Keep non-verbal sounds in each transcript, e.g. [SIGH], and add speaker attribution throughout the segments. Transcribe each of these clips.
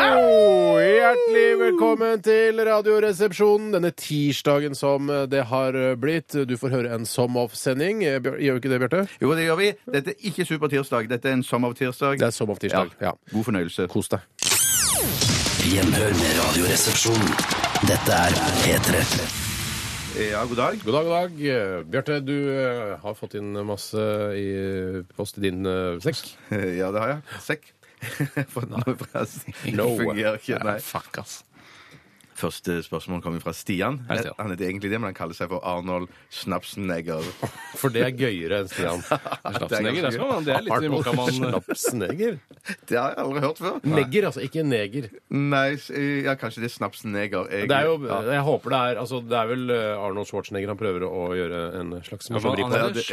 Speaker 1: Au! Hjertelig velkommen til Radioresepsjonen denne tirsdagen som det har blitt. Du får høre en som off-sending. Eh, Bjør- Gjør vi ikke det, Bjarte?
Speaker 2: Jo, det gjør vi. Dette er ikke supertirsdag. Dette er en sommertirsdag.
Speaker 1: Det er som off-tirsdag. Ja.
Speaker 2: God fornøyelse.
Speaker 1: Kos deg.
Speaker 3: Gjenhør med Radioresepsjonen. Dette er P3.
Speaker 2: Eh, Ja, god dag.
Speaker 1: God dag, god dag. Eh, Bjarte, du eh, har fått inn masse i post i din eh, sekk.
Speaker 2: Ja, det har jeg. Sekk. [LAUGHS] Fått noe fra Stian.
Speaker 1: [LAUGHS] No.
Speaker 2: Fungerer ikke. Nei.
Speaker 4: Fuck, ass.
Speaker 2: Første spørsmål kommer fra Stian.
Speaker 4: Hei, Stian.
Speaker 2: Han heter egentlig det, men han kaller seg for Arnold
Speaker 1: [LAUGHS]
Speaker 2: Snapsenegger.
Speaker 1: For det er gøyere enn [LAUGHS] Stian.
Speaker 4: Snapsnegger, det, skal
Speaker 1: sånn,
Speaker 4: man- det er litt i boka man
Speaker 1: Snapsneger? [LAUGHS]
Speaker 2: Det har jeg aldri hørt før.
Speaker 1: Negger, altså. Ikke neger.
Speaker 2: Nei, s- ja, kanskje det er Snapsenegger. Jeg-
Speaker 1: Det er jo,
Speaker 2: Ja.
Speaker 1: jeg håper det er altså, Det er vel eh, Arnold Schwarzenegger han prøver å gjøre en slags
Speaker 4: Hva
Speaker 1: maskineri på.
Speaker 2: Ja,
Speaker 4: er det?
Speaker 2: det- ja.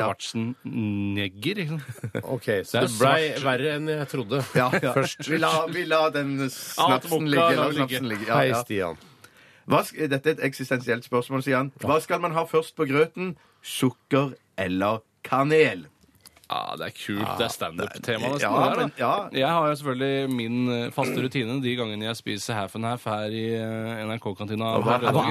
Speaker 4: Schwarzenegger, ikke sant?
Speaker 1: Ok, så
Speaker 4: er
Speaker 1: det, blei
Speaker 4: svart.
Speaker 1: verre enn jeg
Speaker 4: [LAUGHS]
Speaker 1: trodde
Speaker 2: Ja, ja.
Speaker 1: først.
Speaker 2: Vi la, vi la den
Speaker 4: vodka,
Speaker 2: snapsen ligge.
Speaker 4: la
Speaker 2: La
Speaker 4: det ligge.
Speaker 2: snapsen ligge. Ja,
Speaker 1: Hei,
Speaker 2: ja.
Speaker 1: Stian.
Speaker 2: Hva, sk- eh, dette er et eksistensielt spørsmål, sier han. Hva skal man ha først på grøten? Sukker eller kanel?
Speaker 4: [LAUGHS] Ja, det er kult. Det er standup-tema, nesten.
Speaker 2: Ja,
Speaker 4: Ah, det der,
Speaker 2: men,
Speaker 4: da.
Speaker 2: ja.
Speaker 4: Jeg har jo selvfølgelig min eh, faste rutine de gangene jeg spiser half and half her i eh, NRK-kantina. hver lørdag.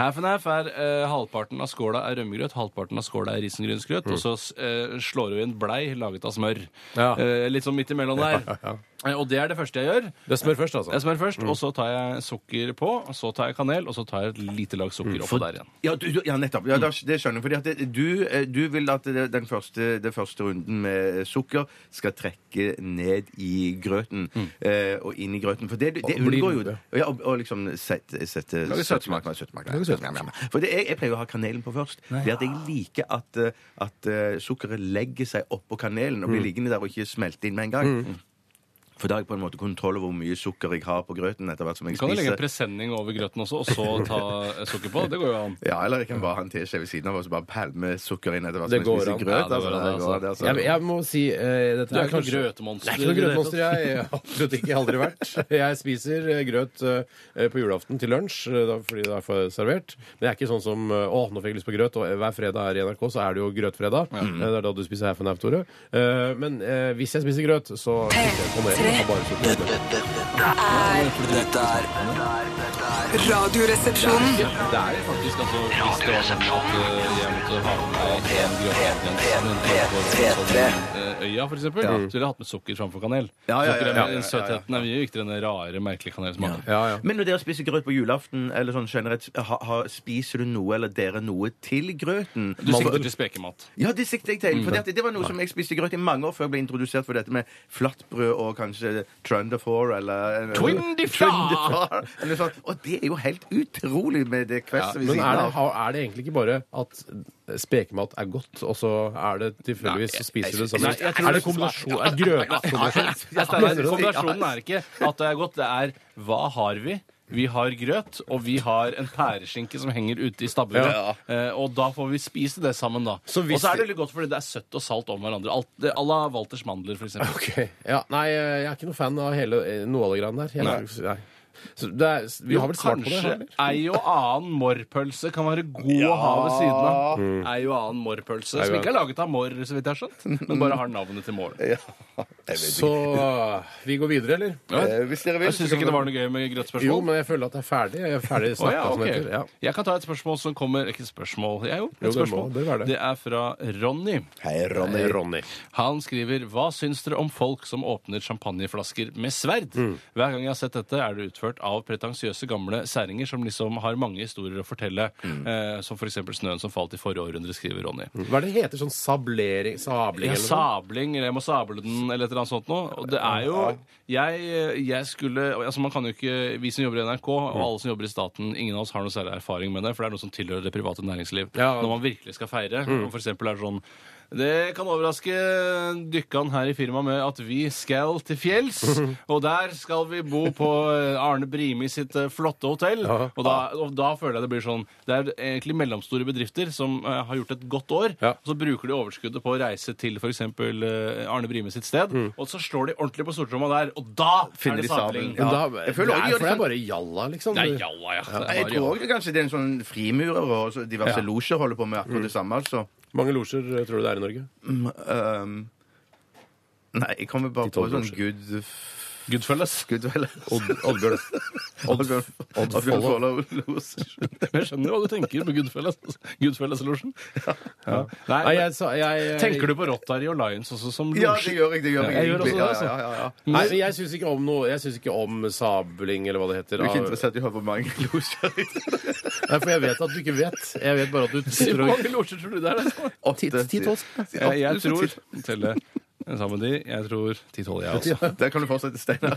Speaker 4: Half and half er eh, halvparten av skåla er rømmegrøt, halvparten av skåla er risengrynsgrøt, og så eh, slår vi en blei laget av smør.
Speaker 1: Ja.
Speaker 4: Eh, litt sånn midt imellom der. Eh, Og det er det første jeg gjør.
Speaker 1: Det er smør først, altså.
Speaker 4: Jeg smører først, og så tar jeg sukker på, og så tar jeg kanel, og så tar jeg et lite lag sukker oppå der igjen.
Speaker 2: Ja, du, du- ja, nettopp. Ja, da, det skjønner jeg. Fordi at det, du, eh, du vil at det, den første, det første runden med sukker skal trekke ned i grøten. Eh, og inn i grøten. For det, det,
Speaker 1: Og bli
Speaker 2: unngår jo
Speaker 1: lue.
Speaker 2: Ja, og, og liksom sette, sette
Speaker 4: Lage søtmak.
Speaker 2: søtmak. søtmak. Jam, jam, jam. For det, jeg, jeg pleier å ha kanelen på først. Det at jeg liker at, eh, at eh, sukkeret legger seg oppå kanelen og
Speaker 4: Mm.
Speaker 2: blir liggende der og ikke smelter inn med en gang. For da har jeg på en måte kontroll over hvor mye sukker jeg har på grøten etter hvert som jeg
Speaker 4: Du kan jo legge en
Speaker 2: spiser.
Speaker 4: presenning over grøten også, og så ta eh, sukker på. Det går jo an.
Speaker 2: Ja, eller jeg kan bare ha en teskje ved siden av og så bare pælme sukker inn etter hvert
Speaker 1: Det
Speaker 2: som jeg
Speaker 1: går
Speaker 2: spiser
Speaker 1: an.
Speaker 4: Ja,
Speaker 2: grøt. altså.
Speaker 4: det går an,
Speaker 2: Det går an, altså.
Speaker 1: Jeg, jeg må si eh, dette
Speaker 4: Du er ikke noe
Speaker 1: kanskje-
Speaker 4: grøtmonster
Speaker 1: Jeg er ikke noe
Speaker 4: i det hele
Speaker 1: grøtmonster, jeg. jeg. har Absolutt ikke. Aldri vært.
Speaker 4: [LAUGHS]
Speaker 1: Jeg spiser eh, grøt eh, på julaften til lunsj eh, da- fordi da får jeg servert. Men jeg er ikke sånn som eh, Å, nå fikk jeg lyst på grøt. Og eh, hver fredag her i NRK så er det jo grøtfredag. Eh, Det er da du spiser half and half, Tore. Eh, Men eh, hvis jeg spiser grøt, så ikke jeg kommer jeg bare sukker.
Speaker 3: Dette, dette, dette er Dette er dette er
Speaker 5: Radioresepsjonen.
Speaker 4: Det er jo faktisk altså hvis det var sånn at eh, jeg måtte ha med meg en grøt igjen, en grøt på en sånn, eh, Øya, for eksempel, så ville jeg hatt med sukker framfor kanel.
Speaker 2: Ja, ja, ja,
Speaker 4: Sukker er
Speaker 2: ja,
Speaker 4: mer-
Speaker 2: ja, ja, ja.
Speaker 4: Søtheten er mye viktigere enn den rare, merkelige kanelsmaken.
Speaker 1: Ja, ja.
Speaker 2: Men når dere spiser grøt på julaften, eller sånn generelt, ha, ha, spiser du noe eller dere noe til grøten?
Speaker 4: Du sikter til spekemat.
Speaker 2: Ja, det sikter jeg til.
Speaker 1: Mm,
Speaker 2: For det, det var noe som jeg spiste grøt i mange år før jeg ble introdusert for dette med flatbrød og kanskje trunderfour eller
Speaker 4: Trundifar!
Speaker 2: Trundifar, Eller sånn. Og det er jo helt utrolig med det kvesset ved
Speaker 1: Men
Speaker 2: siden
Speaker 1: er det,
Speaker 2: av.
Speaker 1: har- er det egentlig ikke bare at spekemat er godt, og så er det tilfeldigvis så spiser du det sammen?
Speaker 4: Nei, jeg tror
Speaker 1: er det
Speaker 4: det- sånn
Speaker 1: kombinasjon? Er
Speaker 4: [LAUGHS]
Speaker 1: grøtkombinasjon?
Speaker 4: Ja, Steinar, kombinasjonen er ikke at det er godt, det er hva har vi? Vi har grøt, og vi har en pæreskinke som henger ute i stabburet. Eh, og da får vi spise det sammen, da.
Speaker 1: Så hvis
Speaker 4: og så er det litt godt fordi det er søtt og salt om hverandre. Alt, det- à la Walters mandler, for eksempel.
Speaker 1: Ok. Ja, nei, jeg er ikke noe fan av hele, eh, noe av det greiene der. Jeg, nei. Så det er, vi har vel svart på det?
Speaker 4: Kanskje
Speaker 1: eller?
Speaker 4: ei og annen morrpølse kan være god å ha ved siden av. Ei og annen morrpølse, som
Speaker 1: annen.
Speaker 4: ikke er laget av morr, så vidt jeg har skjønt, men bare har navnet til morren.
Speaker 1: Så vi går videre, eller?
Speaker 2: Eh, Hvis dere vil,
Speaker 4: Jeg syns
Speaker 2: så kan
Speaker 4: ikke det var noe gøy med
Speaker 1: Jo,
Speaker 4: grøtspørsmål.
Speaker 1: men jeg føler at jeg er ferdig. Jeg er ferdig
Speaker 4: Å,
Speaker 1: snakka,
Speaker 4: ja,
Speaker 1: som
Speaker 4: ok.
Speaker 1: det heter. Ja.
Speaker 4: Jeg kan ta et spørsmål som kommer Ikke et spørsmål, ja, jo, et
Speaker 1: Jo, det må-
Speaker 4: spørsmål.
Speaker 1: bør være det.
Speaker 4: er fra Ronny.
Speaker 2: Hei, Ronny.
Speaker 1: Nei, Ronny.
Speaker 4: Han skriver Hva syns dere om folk som åpner champagneflasker med sverd?
Speaker 1: Mm.
Speaker 4: Hver gang jeg har sett dette, er det utført av pretensiøse gamle særinger som liksom har mange historier å fortelle,
Speaker 1: Mm.
Speaker 4: eh, som f.eks. snøen som falt i forrige århundre, skriver Ronny.
Speaker 1: Hva er det heter? Sånn sablering Sabling?
Speaker 4: Ja,
Speaker 1: eller noe?
Speaker 4: sabling, eller jeg må sable den, eller et eller annet sånt noe. Og det er jo Jeg, jeg skulle Altså, man kan jo ikke Vi som jobber i NRK, og alle som jobber i staten, ingen av oss har noe særlig erfaring med det, for det er noe som tilhører det private næringsliv.
Speaker 1: Ja.
Speaker 4: Når man virkelig skal feire, om for eksempel er det sånn Det kan overraske dykkan her i firmaet med at vi skal til fjells. Og der skal vi bo på eh, Arne Brimi sitt eh, flotte hotell.
Speaker 1: Ja.
Speaker 4: Og da, og da føler jeg det blir sånn Det er egentlig mellomstore bedrifter som eh, har gjort et godt år.
Speaker 1: Ja.
Speaker 4: Og så bruker de overskuddet på å reise til f.eks. Arne Brimi sitt sted. Og så slår de ordentlig på stortromma der, og da
Speaker 2: Finner
Speaker 4: er
Speaker 2: de
Speaker 4: det sammenligning.
Speaker 1: Men
Speaker 2: sammen.
Speaker 4: Ja.
Speaker 1: da,
Speaker 2: Jeg føler
Speaker 1: Nei,
Speaker 2: også de
Speaker 1: for
Speaker 2: gjør
Speaker 1: det
Speaker 2: det
Speaker 1: er bare jalla, liksom.
Speaker 4: Det er jalla, ja. Det er
Speaker 2: Jeg
Speaker 4: bare
Speaker 2: tror
Speaker 4: jalla.
Speaker 2: også kanskje det er en sånn frimurer og så diverse
Speaker 1: Ja. Mm.
Speaker 2: losjer holder på med akkurat det samme. altså.
Speaker 1: Mange losjer eh, tror du det er i Norge?
Speaker 2: Mm, ehm, nei, jeg kommer bare
Speaker 1: De
Speaker 2: på
Speaker 1: tolv
Speaker 2: sånn
Speaker 1: losjer.
Speaker 2: good
Speaker 4: Goodfellas.
Speaker 2: Gudvel.
Speaker 1: Odd-
Speaker 2: [LAUGHS]
Speaker 1: Oddbjørn.
Speaker 2: Oddbjørn
Speaker 1: Odd
Speaker 2: Oddbjørn
Speaker 1: Follo.
Speaker 2: Follo los.
Speaker 4: [LAUGHS] Jeg skjønner hva du tenker med Goodfellas. Goodfellas-losjen. Ja.
Speaker 1: Nei, jeg sa jeg,
Speaker 4: Tenker du på Rotary og Lions også som
Speaker 2: Ja,
Speaker 4: losje?
Speaker 2: det gjør jeg. det gjør
Speaker 4: Ja,
Speaker 2: jeg.
Speaker 4: jeg gjør også
Speaker 2: egentlig.
Speaker 4: det, altså.
Speaker 2: Ja, ja, ja, ja.
Speaker 1: Nei, men jeg syns ikke om noe Jeg syns ikke om sabling, eller hva det heter.
Speaker 2: Du er ikke
Speaker 1: av-
Speaker 2: interessert i å høre på mange [LAUGHS] losjer?
Speaker 1: Nei, for jeg vet at du ikke vet. Jeg vet bare at du
Speaker 4: Si,
Speaker 1: sitter
Speaker 4: Hvor
Speaker 1: og
Speaker 4: mange losjer tror du det er? da?
Speaker 2: Åtte.
Speaker 4: Jeg, jeg
Speaker 2: Du får
Speaker 4: tror Telle sammen med de. Jeg tror 10-12, jeg også.
Speaker 2: ti. Der kan du fortsette, Steinar.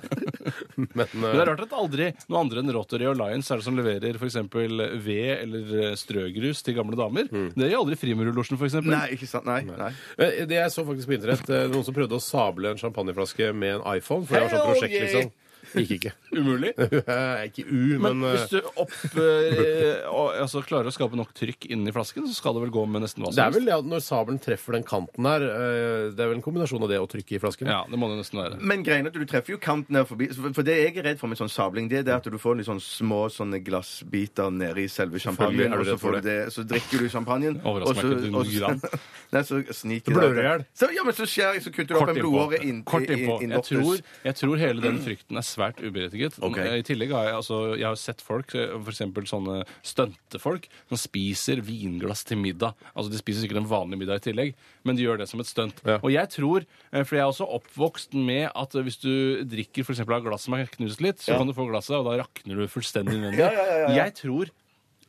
Speaker 1: Men,
Speaker 4: Men det er
Speaker 1: eh,
Speaker 4: rart at aldri noe andre enn Rotary og Lions er det som leverer f.eks. ved eller eh, strøgrus til gamle damer.
Speaker 1: Mm.
Speaker 4: Det gjør aldri Frimurerlosjen, f.eks.
Speaker 2: [LAUGHS] Nei, ikke sant? Nei. nei.
Speaker 1: eh, det jeg så faktisk på internett, eh, noen som prøvde å sable en champagneflaske med en iPhone. For det var sånn
Speaker 4: Hell
Speaker 1: prosjekt,
Speaker 4: yeah!
Speaker 1: liksom. Gikk ikke. [LAUGHS]
Speaker 4: Umulig.
Speaker 1: Eh, ikke U,
Speaker 4: Men
Speaker 1: men
Speaker 4: hvis
Speaker 1: eh,
Speaker 4: du opp, eh, og- altså, klarer å skape nok trykk inni flasken, så skal det vel gå med nesten hva
Speaker 1: det
Speaker 4: som
Speaker 1: er vel det at når sabelen treffer den kanten der eh, Det er vel en kombinasjon av det og trykket i flasken.
Speaker 4: Ja, det må det nesten være.
Speaker 2: Men greiene, er at du treffer jo kanten her forbi. For for det jeg er redd for med sånn sabling, det er det at du får litt sånn små sånne glassbiter nede i selve
Speaker 1: Selvfølgelig
Speaker 2: champagnen.
Speaker 1: er du
Speaker 2: Og så,
Speaker 1: redd for
Speaker 2: får du det. så drikker du champagnen,
Speaker 4: [LAUGHS] Overrasker
Speaker 2: og så,
Speaker 4: meg ikke noe
Speaker 2: og så- [LAUGHS] Nei, så sniker
Speaker 1: Du blør
Speaker 2: det.
Speaker 1: i hjel.
Speaker 2: Så, ja, men så skjærer jeg, så kutter du opp en blodåre inn-
Speaker 4: Kort innpå.
Speaker 2: inn- inn-
Speaker 4: Jeg tror,
Speaker 2: innvortes.
Speaker 4: jeg tror hele den frykten er svært uberettiget.
Speaker 2: Ok.
Speaker 4: I tillegg har jeg, altså, jeg har sett folk, f.eks. sånne stuntefolk, som spiser vinglass til middag. Altså, De spiser sikkert en vanlig middag i tillegg, men de gjør det som et stunt.
Speaker 1: Ja.
Speaker 4: Og jeg tror, eh, for jeg er også oppvokst med at eh, hvis du drikker f.eks. av glass som er knust litt, så kan du få glasset, og da rakner du fullstendig innvendig. Jeg tror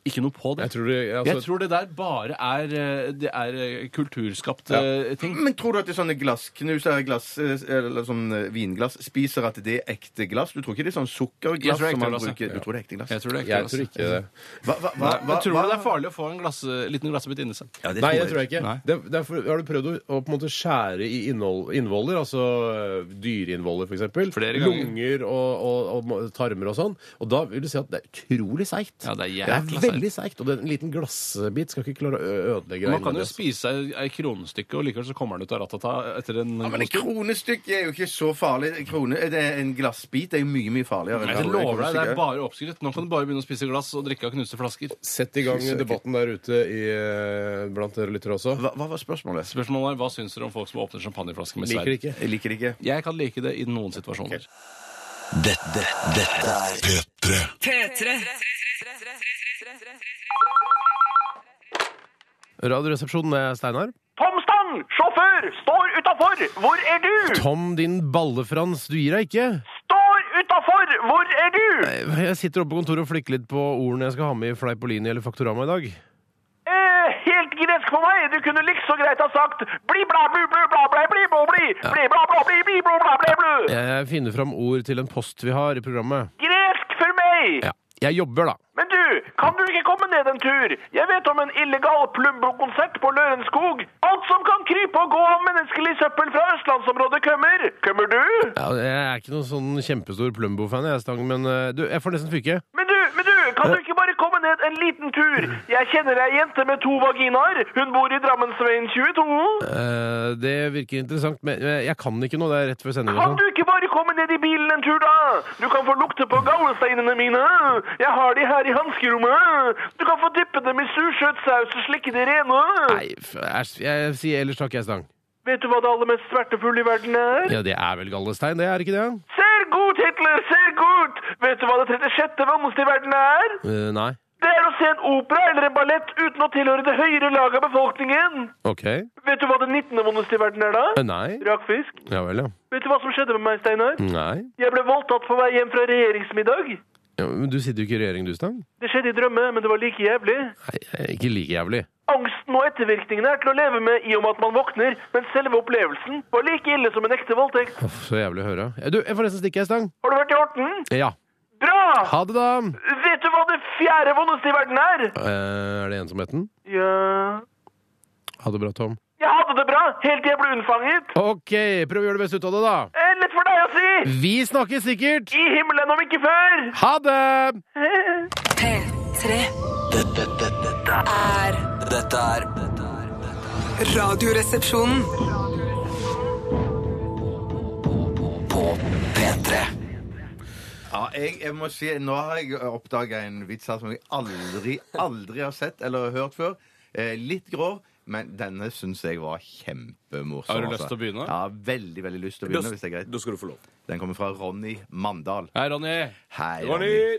Speaker 4: ikke noe på det.
Speaker 1: Jeg tror det, altså,
Speaker 4: Jeg tror det der bare er, eh, det er eh, kulturskapt eh, ting.
Speaker 2: Men tror du at det er sånne glassknuser, glass, eller sånn eh, vinglass, spiser at det er ekte glass? Du tror ikke det er sånn
Speaker 4: Jeg
Speaker 2: sukkerglass
Speaker 4: tror det er
Speaker 2: som
Speaker 4: ekte
Speaker 2: man
Speaker 4: glass, ja.
Speaker 2: bruker? Du tror det er ekte glass?
Speaker 4: Jeg tror det er ekte
Speaker 1: jeg
Speaker 4: glass.
Speaker 1: tror ikke det.
Speaker 2: Hva, hva, hva,
Speaker 4: Nei, men
Speaker 2: hva-
Speaker 4: tror du
Speaker 2: hva-
Speaker 4: det er farlig å få en glass, eh, liten glassebit inni seg?
Speaker 2: Ja,
Speaker 1: Nei, det tror jeg ikke.
Speaker 4: Nei.
Speaker 1: Det, derfor har du prøvd å, å på en måte skjære i innhold, innvoller, altså øh, dyreinvoller f.eks.
Speaker 4: Flere ganger.
Speaker 1: Lunger og, og, og ma- tarmer og sånn. Og da vil du si at det er utrolig seigt.
Speaker 4: Ja, det er
Speaker 1: det er
Speaker 4: jækla
Speaker 1: veldig seigt. Og det, en liten glassbit skal ikke klare å ø- ødelegge
Speaker 4: Man kan
Speaker 1: innvendig,
Speaker 4: jo
Speaker 1: altså.
Speaker 4: spise ei- ei kronestykke, og likevel så kommer den ut av ratata etter en
Speaker 2: Ja, men et kronestykke er jo ikke så farlig. En Krone, eh, det er en glassbit er jo mye, mye farligere. enn
Speaker 4: Jeg
Speaker 2: et
Speaker 4: lover deg, det
Speaker 2: kronestykke.
Speaker 4: er bare oppskrytt. Nå kan du bare begynne å spise glass og drikke av knuste flasker.
Speaker 1: Sett i gang debatten der ute i, øh, blant dere lyttere også.
Speaker 2: hva, hva var spørsmålet?
Speaker 4: Spørsmålet er, Hva syns dere om folk som åpner champagneflasker med
Speaker 1: Liker
Speaker 4: sverd?
Speaker 1: ikke.
Speaker 2: Jeg liker det ikke.
Speaker 4: Jeg kan like det i noen situasjoner.
Speaker 3: Dette, dette er
Speaker 6: P3.
Speaker 1: Radioresepsjonen er Steinar.
Speaker 7: Tom Stang, sjåfør, står utafor, hvor er du?
Speaker 1: Tom, din ballefrans, du gir deg ikke.
Speaker 7: Står utafor, hvor er du?
Speaker 1: Jeg sitter oppe på kontoret og flikker litt på ordene jeg skal ha med i Fleipolini eller Faktorama i dag.
Speaker 7: Eh, helt gresk for meg, du kunne likså greit ha sagt bli bla blu blu bla bla bli bo bli, bli bla bla bli bli bla bla bli blu.
Speaker 1: Jeg finner fram ord til en post vi har i programmet.
Speaker 7: Gresk for meg!
Speaker 1: Ja. Jeg jobber, da.
Speaker 7: Men du, kan du ikke komme ned en tur? Jeg vet om en illegal Plumbo-konsert på Lørenskog. Alt som kan krype og gå av menneskelig søppel fra østlandsområdet kømmer. Kømmer du?
Speaker 1: Ja, jeg er ikke noen sånn kjempestor Plumbo-fan, jeg, Stang, men eh, du, jeg får nesten fyke.
Speaker 7: Men du, men du, kan du ikke bare komme ned en liten tur? Jeg kjenner ei jente med to vaginaer. Hun bor i Drammensveien 22.
Speaker 1: Eh, det virker interessant, men eh, jeg kan ikke noe. Det er rett før sending.
Speaker 7: Kan
Speaker 1: og
Speaker 7: du
Speaker 1: sånn.
Speaker 7: ikke bare komme ned i bilen en tur, da? Du kan få lukte på gaulesteinene mine. Jeg har de her i hanskerommet. Du kan få dyppe dem i sursøt saus og slikke de rene.
Speaker 1: Nei, f- æsj, jeg sier ellers takk, jeg, Stang.
Speaker 7: Vet du hva det aller mest smertefulle i verden er?
Speaker 1: Ja, det er vel gallestein, det, er ikke det?
Speaker 7: Ser godt, Hitler, ser godt! Vet du hva det 36. vondeste i verden er?
Speaker 1: Eh, nei.
Speaker 7: Det er å se en opera eller en ballett uten å tilhøre det høyere laget av befolkningen.
Speaker 1: OK. Eh,
Speaker 7: Vet du hva det 19. vondeste i verden er, da?
Speaker 1: nei.
Speaker 7: Rakfisk.
Speaker 1: Ja vel, ja.
Speaker 7: Vet du hva som skjedde med meg, Steinar?
Speaker 1: Nei.
Speaker 7: Jeg ble voldtatt på vei hjem fra regjeringsmiddag.
Speaker 1: Ja, men du sitter jo ikke i regjering, du, Stang.
Speaker 7: Det skjedde i drømme, men det var like jævlig.
Speaker 1: Nei, eh, ikke like jævlig.
Speaker 7: Angsten og ettervirkningene er til å leve med i og med at man våkner, men selve opplevelsen var like ille som en ekte voldtekt.
Speaker 1: Uff, så jævlig å høre. Eh, Du, jeg får nesten stikke, jeg, Stang.
Speaker 7: Har du vært i Horten?
Speaker 1: Ja.
Speaker 7: Bra!
Speaker 1: Ha det, da.
Speaker 7: Vet du hva det fjerde vondeste i verden er?
Speaker 1: Eh, er det ensomheten?
Speaker 7: Ja
Speaker 1: Ha det bra, Tom.
Speaker 7: Jeg hadde det bra helt til jeg ble unnfanget.
Speaker 1: OK, prøv å gjøre det beste ut av det, da.
Speaker 7: Eh, Lett for deg å si!
Speaker 1: Vi snakkes sikkert!
Speaker 7: I himmelen om ikke før!
Speaker 1: Ha det!
Speaker 5: P3
Speaker 3: Dette, dette, dette er
Speaker 5: er
Speaker 3: Dette er dette er- dette er
Speaker 5: Radioresepsjonen.
Speaker 3: På P3
Speaker 2: Ja, jeg, jeg må si, Nå har jeg oppdaga en vits her som jeg aldri, aldri har sett eller hørt før. Eh, litt grov. Men denne syns jeg var kjempemorsom. altså.
Speaker 4: Har du lyst til å begynne?
Speaker 2: Ja, veldig veldig lyst til å begynne. hvis det er greit.
Speaker 6: Da skal du få lov.
Speaker 2: Den kommer fra Ronny Mandal.
Speaker 4: Hei, Ronny.
Speaker 2: Hei,
Speaker 6: Ronny!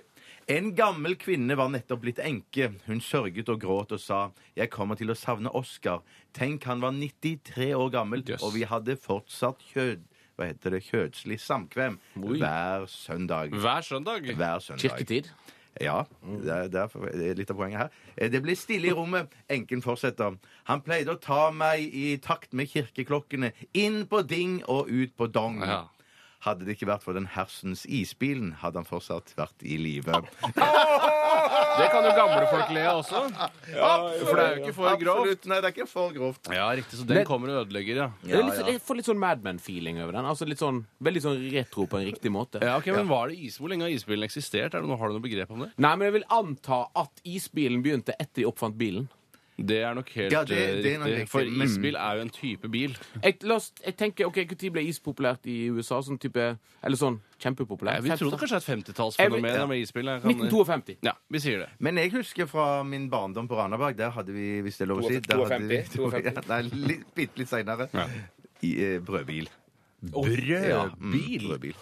Speaker 2: En gammel kvinne var nettopp blitt enke. Hun sørget og gråt og sa 'Jeg kommer til å savne Oscar'. Tenk, han var 93 år gammel,
Speaker 4: Jøss.
Speaker 2: og vi hadde fortsatt kjød... Hva heter det? Kjødslig samkvem hver søndag.
Speaker 4: Hver søndag.
Speaker 2: Hver søndag.
Speaker 6: Kirketid.
Speaker 2: Ja, det er, det er- det er litt av poenget her. Eh, Det ble stille i rommet. Enken fortsetter. Han pleide å ta meg i takt med kirkeklokkene. Inn på ding og ut på dong.
Speaker 4: Ja.
Speaker 2: Hadde det ikke vært for den hersens isbilen, hadde han fortsatt vært i
Speaker 4: [LAUGHS]
Speaker 2: live.
Speaker 4: Det kan jo gamle folk le av også. for det er jo ikke for grovt.
Speaker 2: Absolutt. Nei, det er ikke for grovt.
Speaker 4: Ja, riktig. Så den kommer og ødelegger, ja.
Speaker 6: Det er litt, Jeg får litt sånn Mad Men-feeling over den. Altså litt sånn, Veldig sånn retro på en riktig måte.
Speaker 4: Ja, ok, men var det is? Hvor lenge har isbilen eksistert? Er det noe, har du noe begrep om det?
Speaker 6: Nei, men jeg vil anta at isbilen begynte etter de oppfant bilen.
Speaker 4: Det er nok helt
Speaker 2: Ja, det-
Speaker 4: eh,
Speaker 2: det er nok
Speaker 4: riktig.
Speaker 2: riktig.
Speaker 4: For
Speaker 2: Mm.
Speaker 4: isbil er jo en type bil.
Speaker 6: Jeg, la oss, jeg tenker, ok, Når ble is populært i USA? Sånn type, Eller sånn kjempepopulært?
Speaker 4: Jeg vil tro det
Speaker 6: 50-tallet?
Speaker 4: kanskje er et
Speaker 6: Jeg vil-
Speaker 4: 50-tallsfenomen
Speaker 6: ja.
Speaker 4: med isbil. Jeg kan-
Speaker 6: 1952.
Speaker 4: Ja, vi sier det.
Speaker 2: Men jeg husker fra min barndom på Randaberg. Der hadde vi, hvis det er lov å si der hadde vi- [LAUGHS]
Speaker 6: 52.
Speaker 2: Ja, Nei, litt, bitte litt seinere. Brødbil. Ja, mm, brødbil.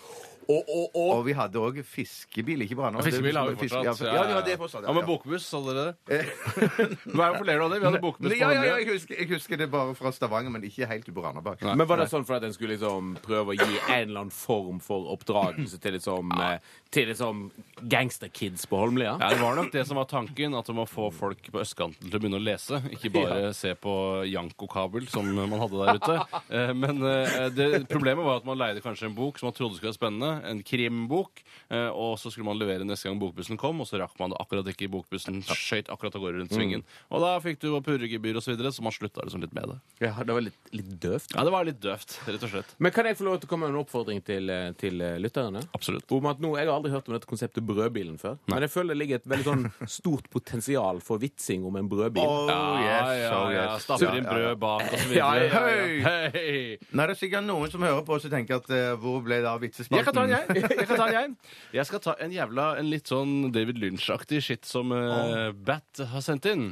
Speaker 6: Og, og, og,
Speaker 2: Og vi hadde òg fiskebil. Ikke Brann.
Speaker 4: Fiskebil har vi
Speaker 2: Fiske-
Speaker 4: fortsatt.
Speaker 2: Ja, ja, vi hadde det fortsatt.
Speaker 4: Ja, men bokbuss, hadde dere [LAUGHS] det? Hvorfor ler du av det? Vi hadde bokbuss på
Speaker 2: ja, ja, ja,
Speaker 4: Holmlia.
Speaker 2: jeg, husker, jeg husker det bare fra Stavanger, men ikke helt på Randaberg.
Speaker 6: Men var det sånn for at en skulle liksom prøve å gi en eller annen form for oppdragelse til liksom, eh, til liksom gangsterkids på Holmlia?
Speaker 4: Ja, det var nok det som var tanken, at man får folk på østkanten til å begynne å lese. Ikke bare se på Janko-kabel, som man hadde der ute. Eh, Men eh, det, problemet var at man leide kanskje en bok som man trodde skulle være spennende, en krimbok, eh, og så skulle man levere neste gang bokbussen kom, og så rakk man det akkurat ikke i bokbussen, skøyt akkurat av gårde rundt svingen. Og da fikk du purregebyr og så videre, så man slutta liksom litt med det.
Speaker 6: Ja, det var litt, litt døvt.
Speaker 4: Ja, det var litt døvt, rett og slett.
Speaker 6: Men kan jeg få lov til å komme med en oppfordring til, eh, til eh, lytterne?
Speaker 4: Absolutt.
Speaker 6: Om at nå, Jeg har aldri hørt om dette konseptet brødbilen før. Men jeg føler det ligger et veldig sånn stort potensial for vitsing om en brødbil.
Speaker 2: Oh,
Speaker 4: Ja,
Speaker 2: yes,
Speaker 4: ja,
Speaker 2: oh,
Speaker 4: ja.
Speaker 2: yes.
Speaker 4: Stapper inn
Speaker 2: Ja, ja, ja.
Speaker 4: brød bak og så
Speaker 6: Ja,
Speaker 4: videre.
Speaker 6: ja,
Speaker 4: Hei.
Speaker 2: Nei, det er sikkert noen som hører på og tenker at eh, hvor ble det av vitsespalten?
Speaker 4: Jeg kan ta en, jeg. Jeg, kan ta en, jeg. jeg skal ta en jævla en litt sånn David Lynch-aktig shit som eh, Bat har sendt inn.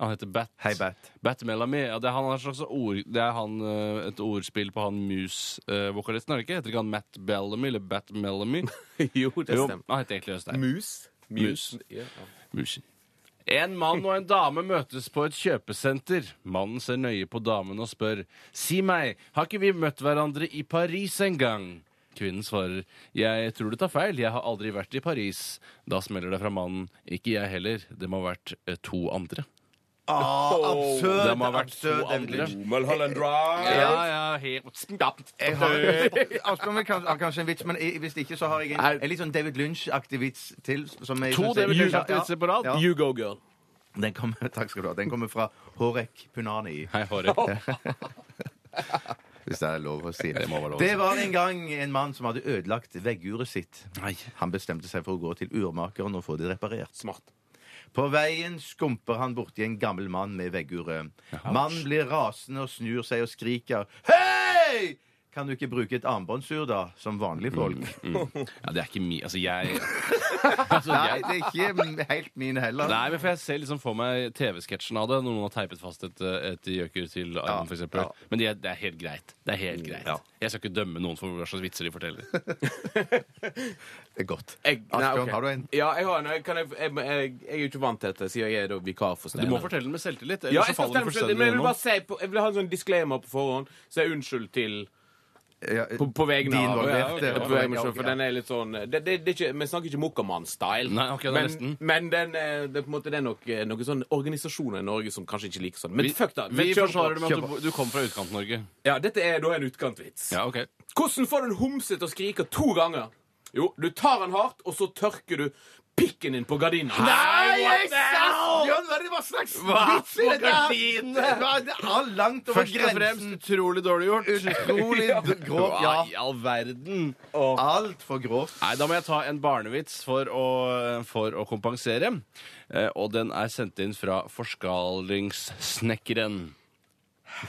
Speaker 4: Han heter Bat.
Speaker 2: Hei, Bat.
Speaker 4: Bat Melamy. Ja, det er, han har et slags ord, det er han, eh, et ordspill på han Muse-vokalisten, er det ikke? Heter ikke han Matt Bellamy eller Bat Melamy?
Speaker 6: [LAUGHS] jo, [LAUGHS] det
Speaker 4: Jo,
Speaker 6: stemmer.
Speaker 4: han heter egentlig Øystein.
Speaker 6: Mus?
Speaker 4: Mus.
Speaker 6: Ja.
Speaker 4: Musi. En mann og en dame møtes på et kjøpesenter. Mannen ser nøye på damen og spør. Si meg, har ikke vi møtt hverandre i Paris en gang? Kvinnen svarer. Jeg tror du tar feil, jeg har aldri vært i Paris. Da smeller det fra mannen. Ikke jeg heller, det må ha vært eh, to andre.
Speaker 2: Ah, absurd!
Speaker 4: Det må ha vært to
Speaker 2: absurd,
Speaker 4: andre.
Speaker 2: endelig.
Speaker 6: Mulholland Drive.
Speaker 4: Ja, ja, helt
Speaker 2: Jeg har, [LAUGHS] Asbjørn vil kanskje, har kanskje en vits, men i- hvis ikke så har jeg en, en litt sånn David Lynch-aktig vits til. Som jeg,
Speaker 4: To
Speaker 2: synes jeg-
Speaker 4: David
Speaker 2: Ja,
Speaker 4: Lynch-aktige vitser på rad.
Speaker 2: Ja, ja.
Speaker 6: You go, girl.
Speaker 2: Den kommer, takk skal du ha. Den kommer fra Horek Punani.
Speaker 4: Hei, Hårek.
Speaker 2: [LAUGHS] Hvis det er lov å si. Det,
Speaker 4: må være lov å si.
Speaker 2: var en gang en mann som hadde ødelagt vegguret sitt.
Speaker 4: Nei.
Speaker 2: Han bestemte seg for å gå til urmakeren og få det reparert.
Speaker 6: Smart.
Speaker 2: På veien skumper han borti en gammel mann med vegguret. Mannen blir rasende og snur seg og skriker Hei! Kan du ikke bruke et armbåndsur, da? Som vanlige
Speaker 4: Mm,
Speaker 2: folk.
Speaker 4: Ja, det er ikke mi... Altså, jeg altså,
Speaker 2: [LAUGHS] Nei,
Speaker 4: jeg-
Speaker 2: det er ikke helt mine heller.
Speaker 4: Nei, men for jeg ser liksom for meg TV-sketsjen av det. Når noen har teipet fast et, et gjøker til armen, for
Speaker 2: ja.
Speaker 4: f.eks. Men det er, det er helt greit. Det er helt greit. Jeg skal ikke dømme noen for hva slags vitser de [LAUGHS] forteller.
Speaker 2: Det er godt.
Speaker 6: Jeg, nei,
Speaker 2: Asbjørn,
Speaker 6: ok.
Speaker 2: har du en?
Speaker 6: Ja, jeg har en. Jeg, kan jeg, jeg, jeg, jeg er jo ikke vant til dette, siden jeg er da vikar for
Speaker 4: Du
Speaker 6: Steinar.
Speaker 4: må fortelle den med selvtillit.
Speaker 6: Ja,
Speaker 4: Ellers så
Speaker 6: jeg, skal
Speaker 4: faller
Speaker 6: stemme
Speaker 4: du
Speaker 6: for det,
Speaker 4: fullstendig
Speaker 6: men jeg, vil
Speaker 4: gjennom.
Speaker 6: bare si, på- jeg vil ha en sånn disclaimer på forhånd. Så jeg unnskyld til
Speaker 2: Ja,
Speaker 6: på, på vegne
Speaker 2: de
Speaker 6: av
Speaker 2: involverte.
Speaker 6: Ja,
Speaker 2: Ja,
Speaker 6: på vegne av-
Speaker 2: ja, ja.
Speaker 6: For den er litt sånn det, det, det er ikke, Vi snakker ikke Mokkermann-style.
Speaker 4: Nei, ok, det er
Speaker 6: men
Speaker 4: nesten.
Speaker 6: men den, eh, det, er på en måte, det er nok eh, noen sånne organisasjoner i Norge som kanskje ikke liker sånn. Men
Speaker 4: Vi,
Speaker 6: fuck that.
Speaker 4: vi
Speaker 6: kjører
Speaker 4: forsvarer
Speaker 6: på.
Speaker 4: det med at du, du kom fra Utkant-Norge.
Speaker 6: Ja, Dette er da en utkantvits.
Speaker 4: Ja, ok.
Speaker 6: Hvordan får du en homse til å skrike to ganger? Jo, du tar den hardt, og så tørker du pikken din på gardina.
Speaker 2: Nei,
Speaker 6: what
Speaker 2: jeg
Speaker 6: the hell?
Speaker 2: Bjørn, hva er det hva slags
Speaker 6: Hva?
Speaker 2: vits er dette?
Speaker 6: På
Speaker 2: her? Hva er det er langt over
Speaker 4: Først og fremst
Speaker 2: grensen.
Speaker 4: utrolig dårlig gjort. [LAUGHS]
Speaker 2: Utrolig grovt,
Speaker 4: Hva i
Speaker 2: ja.
Speaker 4: all verden? Åh.
Speaker 2: Altfor grovt.
Speaker 4: Nei, da må jeg ta en barnevits for å, for å kompensere. Eh, og den er sendt inn fra forskalingssnekkeren.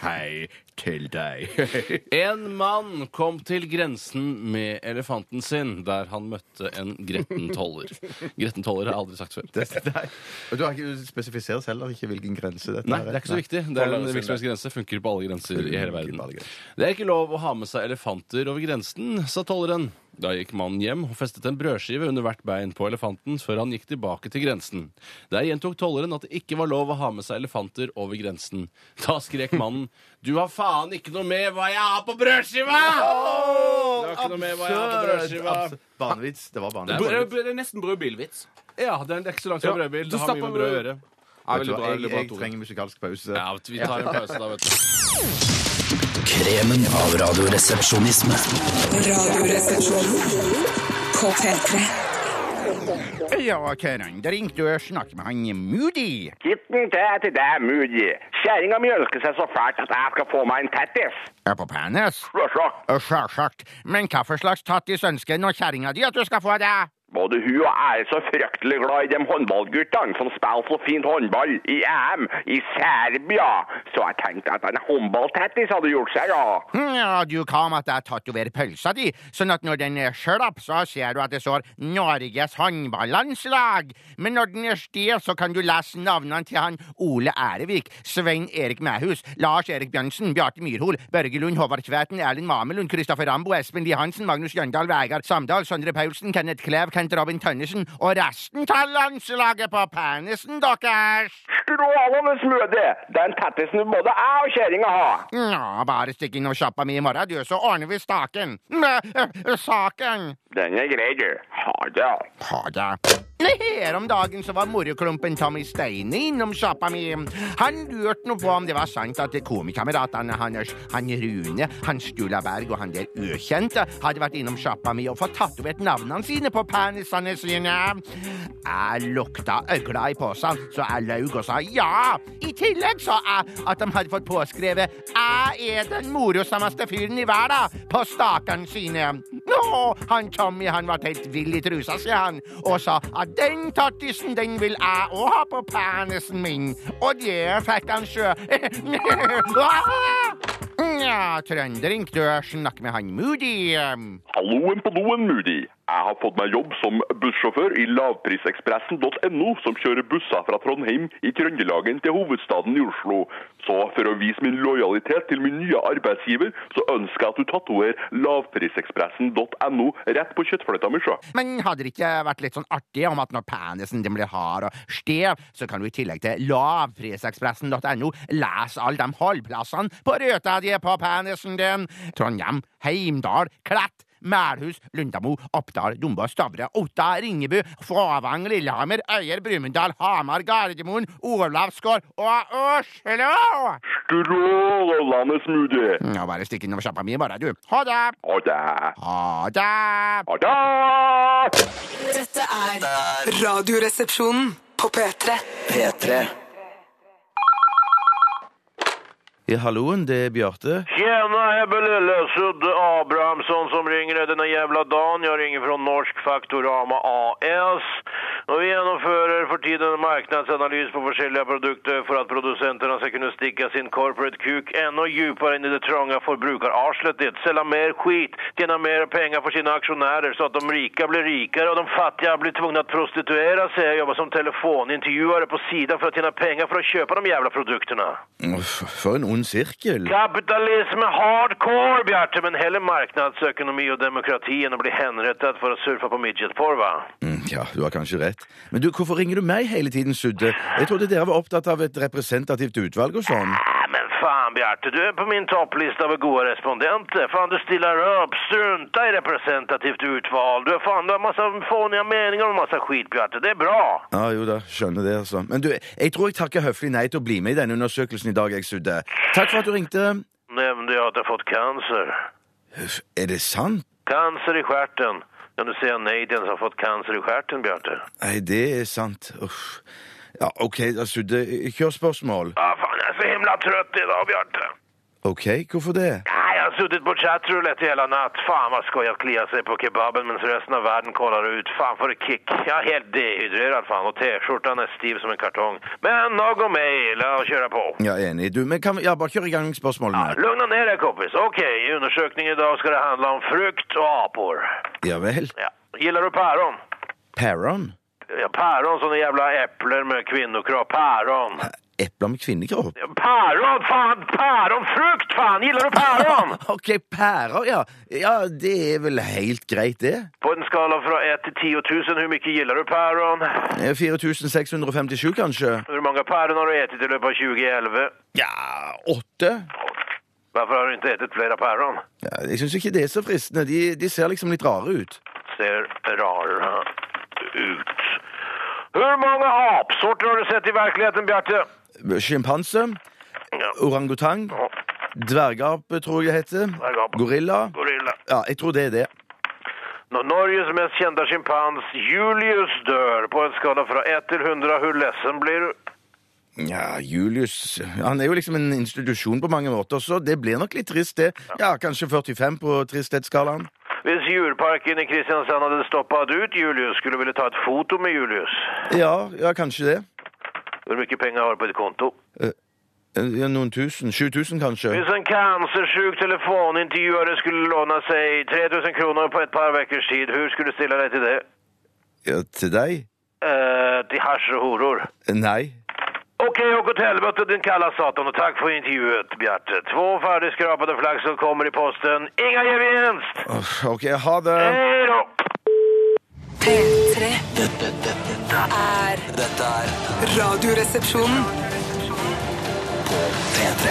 Speaker 4: Hei til deg. [LAUGHS] en mann kom til grensen med elefanten sin, der han møtte en gretten toller. Gretten toller har jeg aldri sagt før.
Speaker 2: Nei. Og du har ikke spesifisert heller ikke hvilken grense dette
Speaker 4: Nei, det er ikke så viktig. Det er en virksomhetsgrense. Funker på alle grenser i hele verden. Det er ikke lov å ha med seg elefanter over grensen, sa tolleren. Da gikk mannen hjem og festet en brødskive under hvert bein på elefanten før han gikk tilbake til grensen. Der gjentok tolleren at det ikke var lov å ha med seg elefanter over grensen. Da skrek mannen 'Du har faen ikke noe med hva jeg har på brødskiva!' Det var ikke noe med hva jeg har på brødskiva.
Speaker 2: Barnevits. Det var
Speaker 4: Det er
Speaker 2: barnevits.
Speaker 4: bare-
Speaker 6: Det er nesten brødbilvits.
Speaker 4: Ja, det er det er ikke så langt fra
Speaker 6: Ja,
Speaker 4: brødbil.
Speaker 6: så
Speaker 4: Det har
Speaker 6: stapp
Speaker 4: mye med
Speaker 6: på
Speaker 4: brød å
Speaker 6: brød.
Speaker 4: gjøre.
Speaker 2: Vet
Speaker 6: Ja,
Speaker 2: du
Speaker 6: veldig
Speaker 2: hva,
Speaker 6: bra,
Speaker 2: Jeg,
Speaker 6: veldig bra,
Speaker 2: jeg
Speaker 6: Tore.
Speaker 2: trenger musikalsk pause.
Speaker 4: Ja, vi tar en pause da, vet du.
Speaker 3: Kremen av radioresepsjonisme.
Speaker 5: Radioresepsjonen på P3.
Speaker 8: Ja, Karen, det ringte og jeg snakket med han Moody.
Speaker 7: Kitten, det er til deg, Moody. Kjerringa mi ønsker seg så fælt at jeg skal få meg en tattis.
Speaker 8: Er på penis?
Speaker 7: Sjølsagt.
Speaker 8: Ja, Sjølsagt. Men hva for slags tattis ønsker nå kjerringa di at du skal få deg?
Speaker 7: Både hun og jeg er så fryktelig glad i de håndballguttene som spiller så fint håndball i EM i Serbia, så jeg tenkte at en håndballtattis hadde gjort seg, ja.
Speaker 8: Hm, Ja, du, hva om at jeg tatoverer pølsa di, sånn at når den er slapp, så ser du at det står Norges håndballandslag. Men når den er stiv, så kan du lese navnene til han Ole Ærevik, Svein Erik Mæhus, Lars Erik Bjørnsen, Bjarte Myrhol, Børge Lund, Håvard Kvæten, Erlend Mamelund, Kristoffer Rambo, Espen Lie Hansen, Magnus Jøndal, Vegard Samdal, Sondre Paulsen, Kenneth Klev, Kent Robin Tønnesen og resten av landslaget på penisen deres.
Speaker 7: Strålende smoothie! Den tattisen vil både jeg og kjerringa ha.
Speaker 8: Nja, bare stikk innom sjappa mi i morgen, du, så ordner vi staken. Mæ, øh, øh, Saken.
Speaker 7: Den er grei, du. Ha det.
Speaker 8: Ha det. Her om dagen så var moroklumpen Tommy Steine innom sjappa mi. Han lurte nå på om det var sant at komikameratene hans, han Rune, han Stula Berg og han der ukjente, hadde vært innom sjappa mi og fått tatovert navnene sine på penisene sine. Jeg lukta øgla i posen, så jeg laug og sa ja. I tillegg sa jeg at de hadde fått påskrevet 'Jeg er den morosammeste fyren i verden' på stakene sine. Nå, han Tommy han var helt vill i trusa, sier han, og sa at den tattisen den vil jeg òg ha på penisen min. Og det fikk han sjø. [LAUGHS] Ah! Nja, trønderink, du snakker med han Moody.
Speaker 7: Halloen på doen, Moody. Jeg har fått meg jobb som bussjåfør i lavprisekspressen.no, som kjører busser fra Trondheim i Trøndelagen til hovedstaden i Oslo. Så for å vise min lojalitet til min nye arbeidsgiver, så ønsker jeg at du tatoverer lavprisekspressen.no rett på kjøttfløyta mi, sjø.
Speaker 8: Men hadde det ikke vært litt sånn artig om at når penisen din blir hard og stiv, så kan du i tillegg til lavprisekspressen.no lese alle de holdplassene på røta di på penisen din? Trondheim, Heimdal, Klett. Melhus, Lundamo, Oppdal, Dumba, Stavre, Otta, Ringebu, Fåvang, Lillehammer, Øyer, Brumunddal, Hamar, Gardermoen, Olavsgård og Oslo!
Speaker 7: Strålende, Moody.
Speaker 8: Nå bare stikk innom sjappa mi, bare, du. Ha det!
Speaker 7: Ha det.
Speaker 8: Ha det!
Speaker 7: Ha det.
Speaker 5: Dette er Radioresepsjonen på P3.
Speaker 3: P3.
Speaker 2: Ja, halloen, det er Bjarte.
Speaker 7: Tjena Ebbe Lille, Sudde Abrahamsson som ringer denne jävla dagen. Jag ringer från Norsk Faktorama AS. Och vi genomför för tiden en marknadsanalys på olika produkter för att producenterna ska kunna sticka sin corporate kuk ännu djupare in i det trånga förbrukararslet. Det. Sälja mer skit, tjäna mer pengar för sina aktionärer så att de rika blir rikare och de fattiga blir tvungna att prostituera sig och jobba som telefonintervjuare på sidan för att tjäna pengar för att köpa de jävla produkterna.
Speaker 2: Uff, [LAUGHS] For en ond sirkel.
Speaker 7: Kapitalisme hardcore, Bjarte, men heller marknadsøkonomi og demokrati enn å bli henrettet for å surfe på midgetporr, va?
Speaker 2: Mm, Ja, du har kanskje rett. Men du, hvorfor ringer du meg hele tiden, Sudde? Jeg trodde dere var opptatt av et representativt utvalg og sånn.
Speaker 7: Äh, men fan, Bjarte, du er på min topplista over gode respondenter. Fan, du stiller opp, strunta i representativt utval. Du, fan, du har masse fåniga meninger om massa skit, Bjarte. Det er bra.
Speaker 2: Ja, jo da, skjønner det, altså. Men du, jeg tror jeg takker høflig nei til å bli med i denne undersøkelsen i dag, jeg, Sudde. Takk for at du ringte.
Speaker 7: Nevnte jeg at jeg har fått cancer.
Speaker 2: Er det sant?
Speaker 7: Cancer i stjärten. Kan du si nei til en som har fått cancer i skjerten, Bjarte?
Speaker 2: Nei, det er sant. Uff. Ja, OK, da sudde Kjør spørsmål.
Speaker 7: Ja, faen, jeg er så himla trøtt i dag, Bjarte.
Speaker 2: OK, hvorfor det?
Speaker 7: Nei, jeg har suttit på chatroulette hela natt. Fan vad skoj att klia sig på kebaben mens resten av världen kollar ut. Fan för kick. Jag är helt dehydrerad fan och t-skjortan är stiv som en kartong. Men nog om mig, la oss köra på.
Speaker 2: Ja, enig. Du, men kan vi, ja, bare kjør i gang med spørsmålene.
Speaker 7: Lugna ner dig kompis. Okej, i undersökningen idag ska det handla om frukt och apor.
Speaker 2: Ja vel.
Speaker 7: Ja. Gillar du päron?
Speaker 2: Paron?
Speaker 7: Ja, päron som jävla äpplen med kvinnokropp. Päron.
Speaker 2: Epler med kvinnekropp?
Speaker 7: Päron, fan! Päronfrukt, fan! Gillar du päron?
Speaker 2: OK, pærer, ja. Ja, det er vel helt greit, det.
Speaker 7: På en skala fra 1 til 10 000, hvor mye gillar du päron?
Speaker 2: Eh, 4657, kanskje?
Speaker 7: Hvor mange päron har du ätit i løpet av 2011?
Speaker 2: Ja, åtte?
Speaker 7: Hvorfor har du ikke ätit flere päron?
Speaker 2: Ja, jeg syns ikke det er så fristende. De, de ser liksom litt rare ut.
Speaker 7: Ser rara ut. Hvor mange apsorter har du sett i virkeligheten, Bjarte?
Speaker 2: Sjimpanse?
Speaker 7: Ja.
Speaker 2: Orangutang? Dvergape, tror jeg det heter.
Speaker 7: Dvergape.
Speaker 2: Gorilla?
Speaker 7: Gorilla.
Speaker 2: Ja, jeg tror det er det.
Speaker 7: Når Norges mest kjente sjimpans Julius dør på en skala fra 1 til 100, hvor lessen blir du?
Speaker 2: Ja, Julius Han er jo liksom en institusjon på mange måter, så det blir nok litt trist, det. Ja, kanskje 45 på tristhetsskalaen.
Speaker 7: Hvis djurparken i Kristiansand hadde stoppet ut Julius, skulle du ville ta et foto med Julius.
Speaker 2: Ja, ja, kanskje det.
Speaker 7: Hvor mye penger har du på ditt konto?
Speaker 2: Eh, Ja, Noen tusen? 7000, kanskje?
Speaker 7: Hvis en cancersjuk telefonintervjuer skulle låne seg 3000 kroner på et par veckors tid, hvor skulle du stille deg til det?
Speaker 2: Ja, til deg?
Speaker 7: Eh, til hasj og horor.
Speaker 2: Nei.
Speaker 7: Okej, åk åt helvete din kalla satan och tack för intervjuet, Bjarte. Två färdigskrapade flaxor kommer i posten. Inga gevinst!
Speaker 2: Åh, OK, ha det.
Speaker 7: Hej då!
Speaker 5: P3
Speaker 3: Dette, dette,
Speaker 5: er
Speaker 3: dette er
Speaker 5: Radioresepsjonen.
Speaker 3: P3.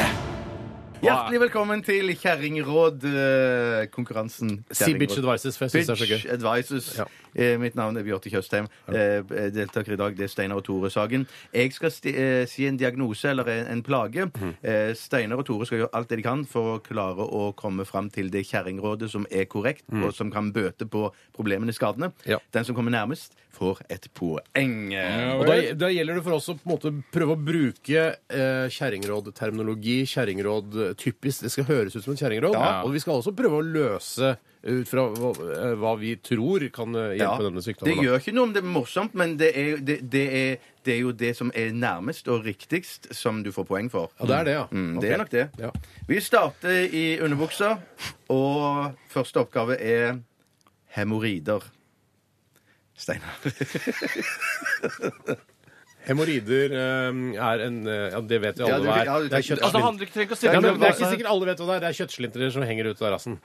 Speaker 2: Hjertelig velkommen til eh, Kjerringråd-konkurransen.
Speaker 1: Si bitch advices, for jeg synes det er så gøy.
Speaker 2: Advices.
Speaker 1: Ja.
Speaker 2: Eh, mitt navn er Bjarte Tjøstheim. Eh, deltaker i dag det er Steinar og Tore Sagen. Jeg skal sti, eh, si en diagnose eller en, en plage.
Speaker 1: Mhm.
Speaker 2: Eh, Steinar og Tore skal gjøre alt det de kan for å klare å komme fram til det kjerringrådet som er korrekt, og som kan bøte på problemene, skadene.
Speaker 1: Mhm. Ja.
Speaker 2: Den som kommer nærmest, får et poeng.
Speaker 1: Og da, da gjelder det for oss å på en måte prøve å bruke eh, kjerringrådterminologi, kjerringråd eh, typisk. Det skal høres ut som en kjerringråd.
Speaker 2: Ja.
Speaker 1: Og vi skal også prøve å løse eh, ut fra hva, eh, hva vi tror kan eh, hjelpe denne sykdommen.
Speaker 2: Det gjør ikke noe om det er morsomt, men det er, det, det, er, det er jo det som er nærmest og riktigst, som du får poeng for.
Speaker 1: Ja, det er det, ja.
Speaker 2: Mm,
Speaker 1: Ok.
Speaker 2: det er nok det.
Speaker 1: Ja.
Speaker 2: Vi starter i underbuksa, og første oppgave er hemoroider.
Speaker 1: [LAUGHS]
Speaker 2: Steinar.
Speaker 1: Hemoroider eh, er en eh, Ja, det vet vi alle
Speaker 2: Ja, du-
Speaker 1: hva
Speaker 2: ja,
Speaker 1: er.
Speaker 2: du-
Speaker 1: Det er
Speaker 4: Altså, det
Speaker 1: kjøttslint.
Speaker 4: handler ikke trenger ikke å
Speaker 1: Ja,
Speaker 4: stille
Speaker 1: men det er
Speaker 2: Altså-
Speaker 1: ikke
Speaker 4: spørsmål.
Speaker 1: sikkert alle vet hva det er. Det er kjøttslintrer som henger ut av rassen.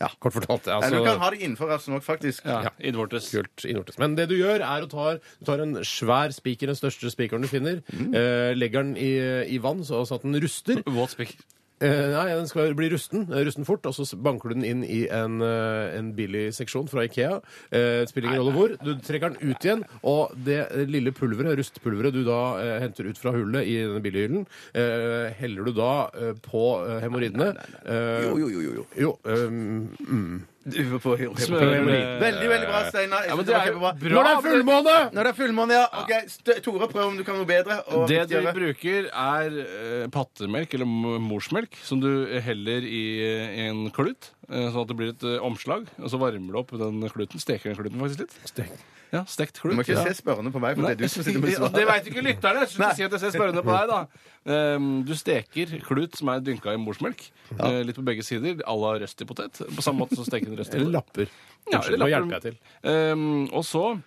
Speaker 2: Ja.
Speaker 1: Kort fortalt.
Speaker 2: Eller du
Speaker 1: Altså,
Speaker 2: kan ha det innenfor rassen òg, faktisk.
Speaker 4: Ja, innvortes.
Speaker 1: kult innvortes. Men det du gjør, er å ta, du tar en svær spiker, den største spikeren du finner,
Speaker 2: Mm.
Speaker 1: eh, legger den i, i vann så sånn at den ruster.
Speaker 4: Våt spiker.
Speaker 1: Eh, nei, den skal bli rusten, eh, rusten fort, og så s- banker du den inn i en, eh, en billig seksjon fra Ikea. Eh, spiller ingen rolle hvor. Du trekker den ut igjen, og det eh, lille pulveret, rustpulveret du da eh, henter ut fra hullet i denne billighyllen, eh, heller du da eh, på eh, hemoroidene. Eh,
Speaker 2: Jo, jo, jo, jo, jo.
Speaker 1: jo, ehm, mm.
Speaker 2: Du får høre-
Speaker 4: Smør-
Speaker 2: Veldig, veldig bra, Steinar. Jeg
Speaker 4: Ja, men
Speaker 2: synes
Speaker 4: det
Speaker 2: var
Speaker 4: er jo
Speaker 2: kjempebra.
Speaker 4: bra.
Speaker 1: Når det er fullmåne!
Speaker 2: Når det er fullmåne, ja. Ok, St- Tore, prøv om du kan noe bedre. og
Speaker 4: Det du
Speaker 2: riktigere.
Speaker 4: bruker, er eh, pattemelk eller mo- morsmelk, som du heller i eh, en klut, eh, sånn at det blir et eh, omslag. Og så varmer du opp den kluten. Steker den kluten faktisk litt? Ja, stekt
Speaker 2: Du
Speaker 4: klut.
Speaker 2: må ikke
Speaker 4: ja.
Speaker 2: se spørrende på meg, for det er du som sitter med
Speaker 4: Ja,
Speaker 2: svaret.
Speaker 4: Det veit ikke lytterne. Slutt å si at jeg ser spørrende på deg, da. Ehm, du steker klut som er dynka i morsmelk, eh, litt på begge sider, à la røstig potet. På samme måte som steker en røstig
Speaker 1: Eller lapper.
Speaker 4: potet. Ja,
Speaker 1: Unnskyld,
Speaker 4: eller
Speaker 1: Nå
Speaker 4: lapper.
Speaker 1: hjelper jeg til.
Speaker 4: Ehm, og så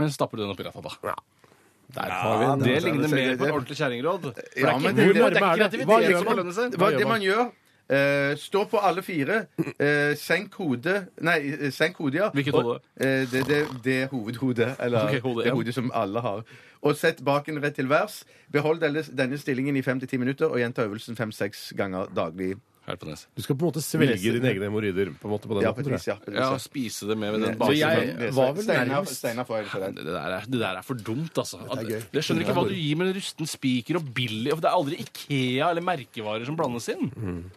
Speaker 4: eh, stapper du den oppi gaffa. da.
Speaker 1: Der har vi den.
Speaker 4: Det ligner
Speaker 2: det-
Speaker 4: mer
Speaker 2: det-
Speaker 4: på et ordentlig kjerringråd. For
Speaker 2: Ja, men
Speaker 4: det er
Speaker 2: det-
Speaker 4: ikke humor,
Speaker 1: det-
Speaker 4: det er ikke
Speaker 1: det-
Speaker 4: kreativitet
Speaker 1: hva gjør
Speaker 4: som
Speaker 1: man?
Speaker 4: belønner seg.
Speaker 2: Hva,
Speaker 1: gjør
Speaker 2: det
Speaker 1: man?
Speaker 2: man gjør eh, Stå på alle fire, eh, senk hodet Nei, eh, senk hodet, ja.
Speaker 4: Hvilket
Speaker 2: Og,
Speaker 4: hode?
Speaker 2: eh, det, det, det er hovedhodet. Eller
Speaker 4: [LAUGHS] Ok, hodet,
Speaker 2: det
Speaker 4: ja.
Speaker 2: hodet som alle har. Og sett baken rett til værs. Behold denne, denne stillingen i fem til ti minutter, og gjenta øvelsen fem-seks ganger daglig.
Speaker 4: Her på nesen.
Speaker 1: Du skal på en måte svelge dine egne hemoroider på en måte på den
Speaker 2: Ja, på
Speaker 1: måten,
Speaker 2: et
Speaker 1: tror
Speaker 2: vis,
Speaker 1: jeg.
Speaker 2: ja. på et vis,
Speaker 4: Ja,
Speaker 2: ja.
Speaker 4: spise det med ved den
Speaker 1: Så
Speaker 4: basen.
Speaker 1: jeg-
Speaker 4: Men-
Speaker 1: var vel
Speaker 2: Steinar-
Speaker 1: nærmest.
Speaker 2: Steinar får en for den.
Speaker 4: Det der, er, det der er for dumt, altså. At, jeg skjønner ikke hva du gir med en rusten spiker og billig. For det er aldri Ikea eller merkevarer som blandes inn.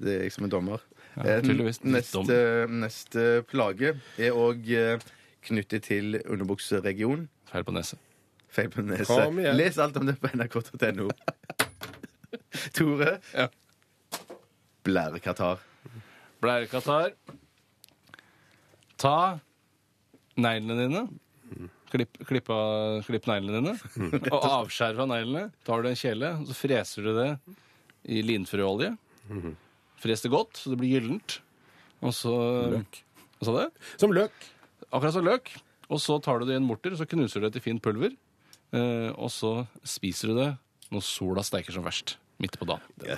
Speaker 2: Det er jeg som en dommer. Eh,
Speaker 4: tydeligvis.
Speaker 2: Neste, neste plage er òg knyttet til underbukseregionen.
Speaker 4: Feil på neset.
Speaker 2: Feil på neset.
Speaker 1: Kom igjen.
Speaker 2: Les alt om det på nrk.no. Tore.
Speaker 4: Ja.
Speaker 2: Blærekatar.
Speaker 4: Blærekatar. Ta neglene dine. Klipp, klipp, av, klipp neglene dine. Og avskjær av neglene. Tar du en kjele, og så freser du det i linfrøolje. Fres det godt, så det blir gyllent. Og så Løk. Hva sa du?
Speaker 1: Som løk.
Speaker 4: Akkurat som løk. Og så tar du det i en morter, så knuser du det til fint pulver. Eh, og så spiser du det når sola steiker som verst. Midt på dagen. Den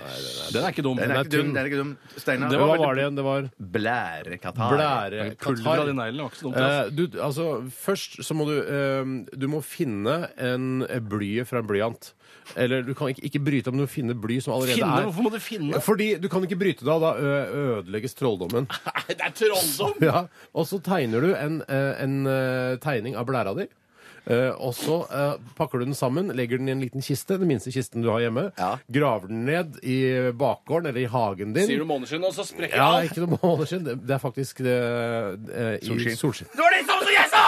Speaker 4: er, ikke dum.
Speaker 2: Den er ikke dum.
Speaker 1: tynn.
Speaker 2: Den er ikke dum. Steinar.
Speaker 4: Det
Speaker 1: Hva
Speaker 4: var
Speaker 1: var det igjen? Det var
Speaker 2: Blærekatar.
Speaker 4: Pulver av de
Speaker 1: blærekatar.
Speaker 4: neglene var ikke så dumt. ass.
Speaker 1: Eh, du, altså, først så må du eh, Du må finne en eh, blyet fra en blyant. Eller du kan ikke, ikke bryte om du finner bly som allerede
Speaker 4: Finne?
Speaker 1: er
Speaker 4: Hvorfor må du finne?
Speaker 1: Fordi du kan ikke bryte det av. Da ø- ødelegges trolldommen.
Speaker 4: [LAUGHS] Nei, det er trolldom!
Speaker 1: Ja, og så tegner du en, eh, en eh, tegning av blæra di. Eh, og så eh, pakker du den sammen, legger den i en liten kiste, den minste kisten du har hjemme.
Speaker 2: Ja.
Speaker 1: Graver den ned i bakgården eller i hagen din.
Speaker 4: Sier du måneskinn, og så sprekker
Speaker 1: ja,
Speaker 4: alt.
Speaker 1: ikke noe måneskinn. Det, det er faktisk eh, eh, i
Speaker 2: Solskinn.
Speaker 1: solskinn.
Speaker 4: Det var det samme som jeg sa!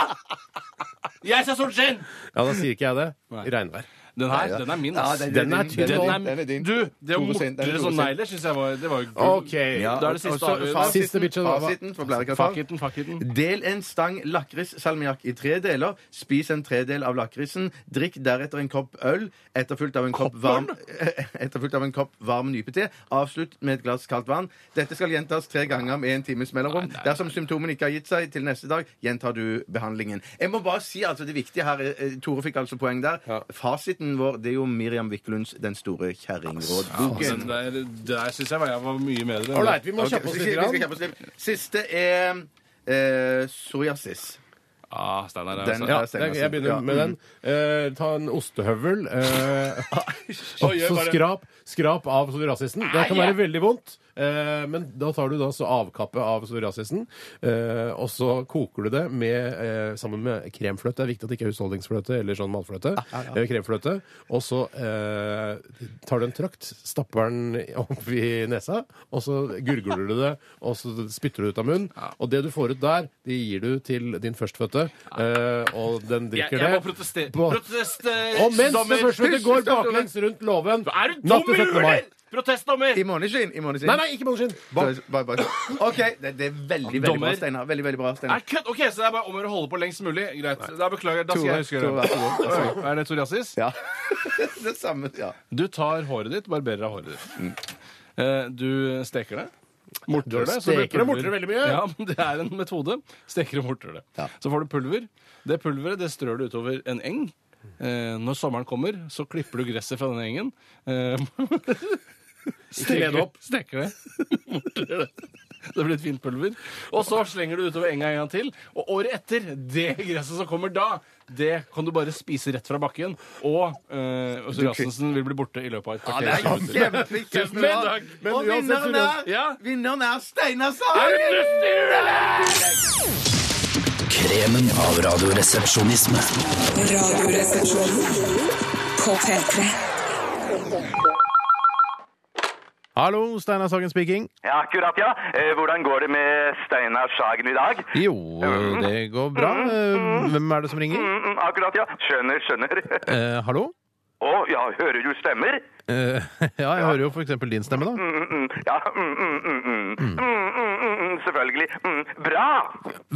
Speaker 4: Jeg sånn sa solskinn!
Speaker 1: Ja, da sier ikke jeg det.
Speaker 4: Nei.
Speaker 1: Regnvær.
Speaker 4: Den her, den er min. ass.
Speaker 2: Ja,
Speaker 1: Den er tynn.
Speaker 4: Den
Speaker 2: Den er din.
Speaker 4: Du, det å
Speaker 2: Tore sin. Den er
Speaker 4: mortere
Speaker 2: Tore
Speaker 4: som
Speaker 2: sin.
Speaker 4: negler syns jeg var Det var jo gull.
Speaker 1: OK.
Speaker 2: Ja,
Speaker 4: Da er det siste
Speaker 2: og så
Speaker 4: avgjørende.
Speaker 2: fasiten-
Speaker 1: Siste bitchen, hva-
Speaker 2: Fasiten for
Speaker 4: Fuck
Speaker 2: blærekatar.
Speaker 4: it, fuck it.
Speaker 2: Del en stang lakrissalmiakk i tre deler. Spis en tredel av lakrisen. Drikk deretter en kopp øl, etterfulgt av en kopp varm, [LAUGHS] etterfulgt av en kopp varm nypete. Avslutt med et glass kaldt vann. Dette skal gjentas tre ganger med en times mellomrom. Dersom symptomene ikke har gitt seg til neste dag, gjentar du behandlingen. Jeg må bare si altså det viktige her eh, eh, Tore fikk altså poeng der. Fasiten vår det er jo Miriam Wiklunds Den store
Speaker 4: Den
Speaker 2: kjerringrådboken.
Speaker 4: der, der syns jeg var, jeg var mye med det.
Speaker 1: Ålreit, vi må
Speaker 2: Ok,
Speaker 1: kjappe
Speaker 2: vi
Speaker 1: oss
Speaker 2: skal-
Speaker 1: litt.
Speaker 2: vi skal
Speaker 1: Grann.
Speaker 2: kjappe oss litt. Siste er eh, psoriasis.
Speaker 4: Ah, Steinar, jeg,
Speaker 2: Den-
Speaker 4: altså.
Speaker 1: Ja,
Speaker 2: Ja,
Speaker 1: det, jeg begynner med den. Eh, ta en ostehøvel. Eh, [LAUGHS] og så skrap, skrap av psoriasisen. Det kan være veldig vondt. Eh, men da tar du da så avkappet av psoriasisen, eh, og så koker du det med, eh, sammen med kremfløte. Det er viktig at det ikke er husholdningsfløte eller sånn matfløte. Eh, kremfløte. Og så eh, tar du en trakt, stapper den opp i nesa, og så gurgler du det, og så spytter du det ut av munnen. Og det du får ut der, det gir du til din førstfødte, eh, og den
Speaker 4: jeg,
Speaker 1: drikker det.
Speaker 4: jeg må protestere.
Speaker 1: På-
Speaker 4: Protestere!
Speaker 1: og mens det første går baklengs rundt låven
Speaker 4: Er du
Speaker 1: natt til
Speaker 4: dum i
Speaker 1: 17. mai.
Speaker 4: huet? Protestdommer!
Speaker 2: I måneskinn. I måneskinn.
Speaker 1: Nei, nei, ikke måneskinn.
Speaker 2: Bare, bare, bare. sånn, OK, det, det er veldig, veldig bra,
Speaker 4: Dommer.
Speaker 2: Steinar. Veldig, veldig bra,
Speaker 4: Er
Speaker 2: Steinar.
Speaker 4: kødd! Ok, så det er bare om å gjøre å holde på lengst mulig. Greit. Da beklager. Da skal
Speaker 2: Tore,
Speaker 4: jeg huske
Speaker 2: Tore, vær så god.
Speaker 4: det. Oi, Er det psoriasis?
Speaker 2: Ja. [LAUGHS] det samme. Ja.
Speaker 4: Du tar håret ditt, barberer av håret ditt. Eh, Du steker det. Morter det. så blir
Speaker 1: steker det,
Speaker 4: pulver.
Speaker 1: Mm. morter det veldig mye.
Speaker 4: Ja, men Det er en metode. Steker og morter det. Så får du pulver. Det pulveret det strør du utover en eng. Eh, når sommeren kommer, så klipper du gresset fra denne engen. Eh, [LAUGHS]
Speaker 1: le det
Speaker 9: [LAUGHS]
Speaker 1: opp.
Speaker 4: Steker det. Morter det. [LAUGHS] Det blir et fint pulver. Og så slenger du utover enga en gang til. Og året etter, det gresset som kommer da, det kan du bare spise rett fra bakken. Og eh, psoriasisen vil bli borte i løpet av et kvarter. [LAUGHS]
Speaker 2: Kjempe,
Speaker 4: Men
Speaker 2: kjempebra.
Speaker 4: takk.
Speaker 1: Men
Speaker 2: Og
Speaker 1: uansett,
Speaker 2: vinneren
Speaker 1: Julian-
Speaker 2: er,
Speaker 4: Ja.
Speaker 2: vinneren er Steinar
Speaker 4: Er
Speaker 2: Sagen!
Speaker 4: du lustig, eller?
Speaker 3: Kremen av radioresepsjonisme.
Speaker 5: Radioresepsjonen på P3.
Speaker 9: Hallo, Steinar Sagen speaking.
Speaker 10: Ja, akkurat, ja. Eh, hvordan går det med Steinar Sagen i dag?
Speaker 9: Jo, det går bra. Eh, Hvem er det som ringer?
Speaker 10: Mm, mm, akkurat, ja. Skjønner, skjønner. Å,
Speaker 9: Eh, hallo?
Speaker 10: ja, hører du stemmer?
Speaker 9: Eh, [LAUGHS] ja, jeg hører jo for eksempel din stemme, da.
Speaker 10: Mm, mm, ja, mm, mm, mm, mm. Mm, mm, mm, mm, selvfølgelig. Mm, bra!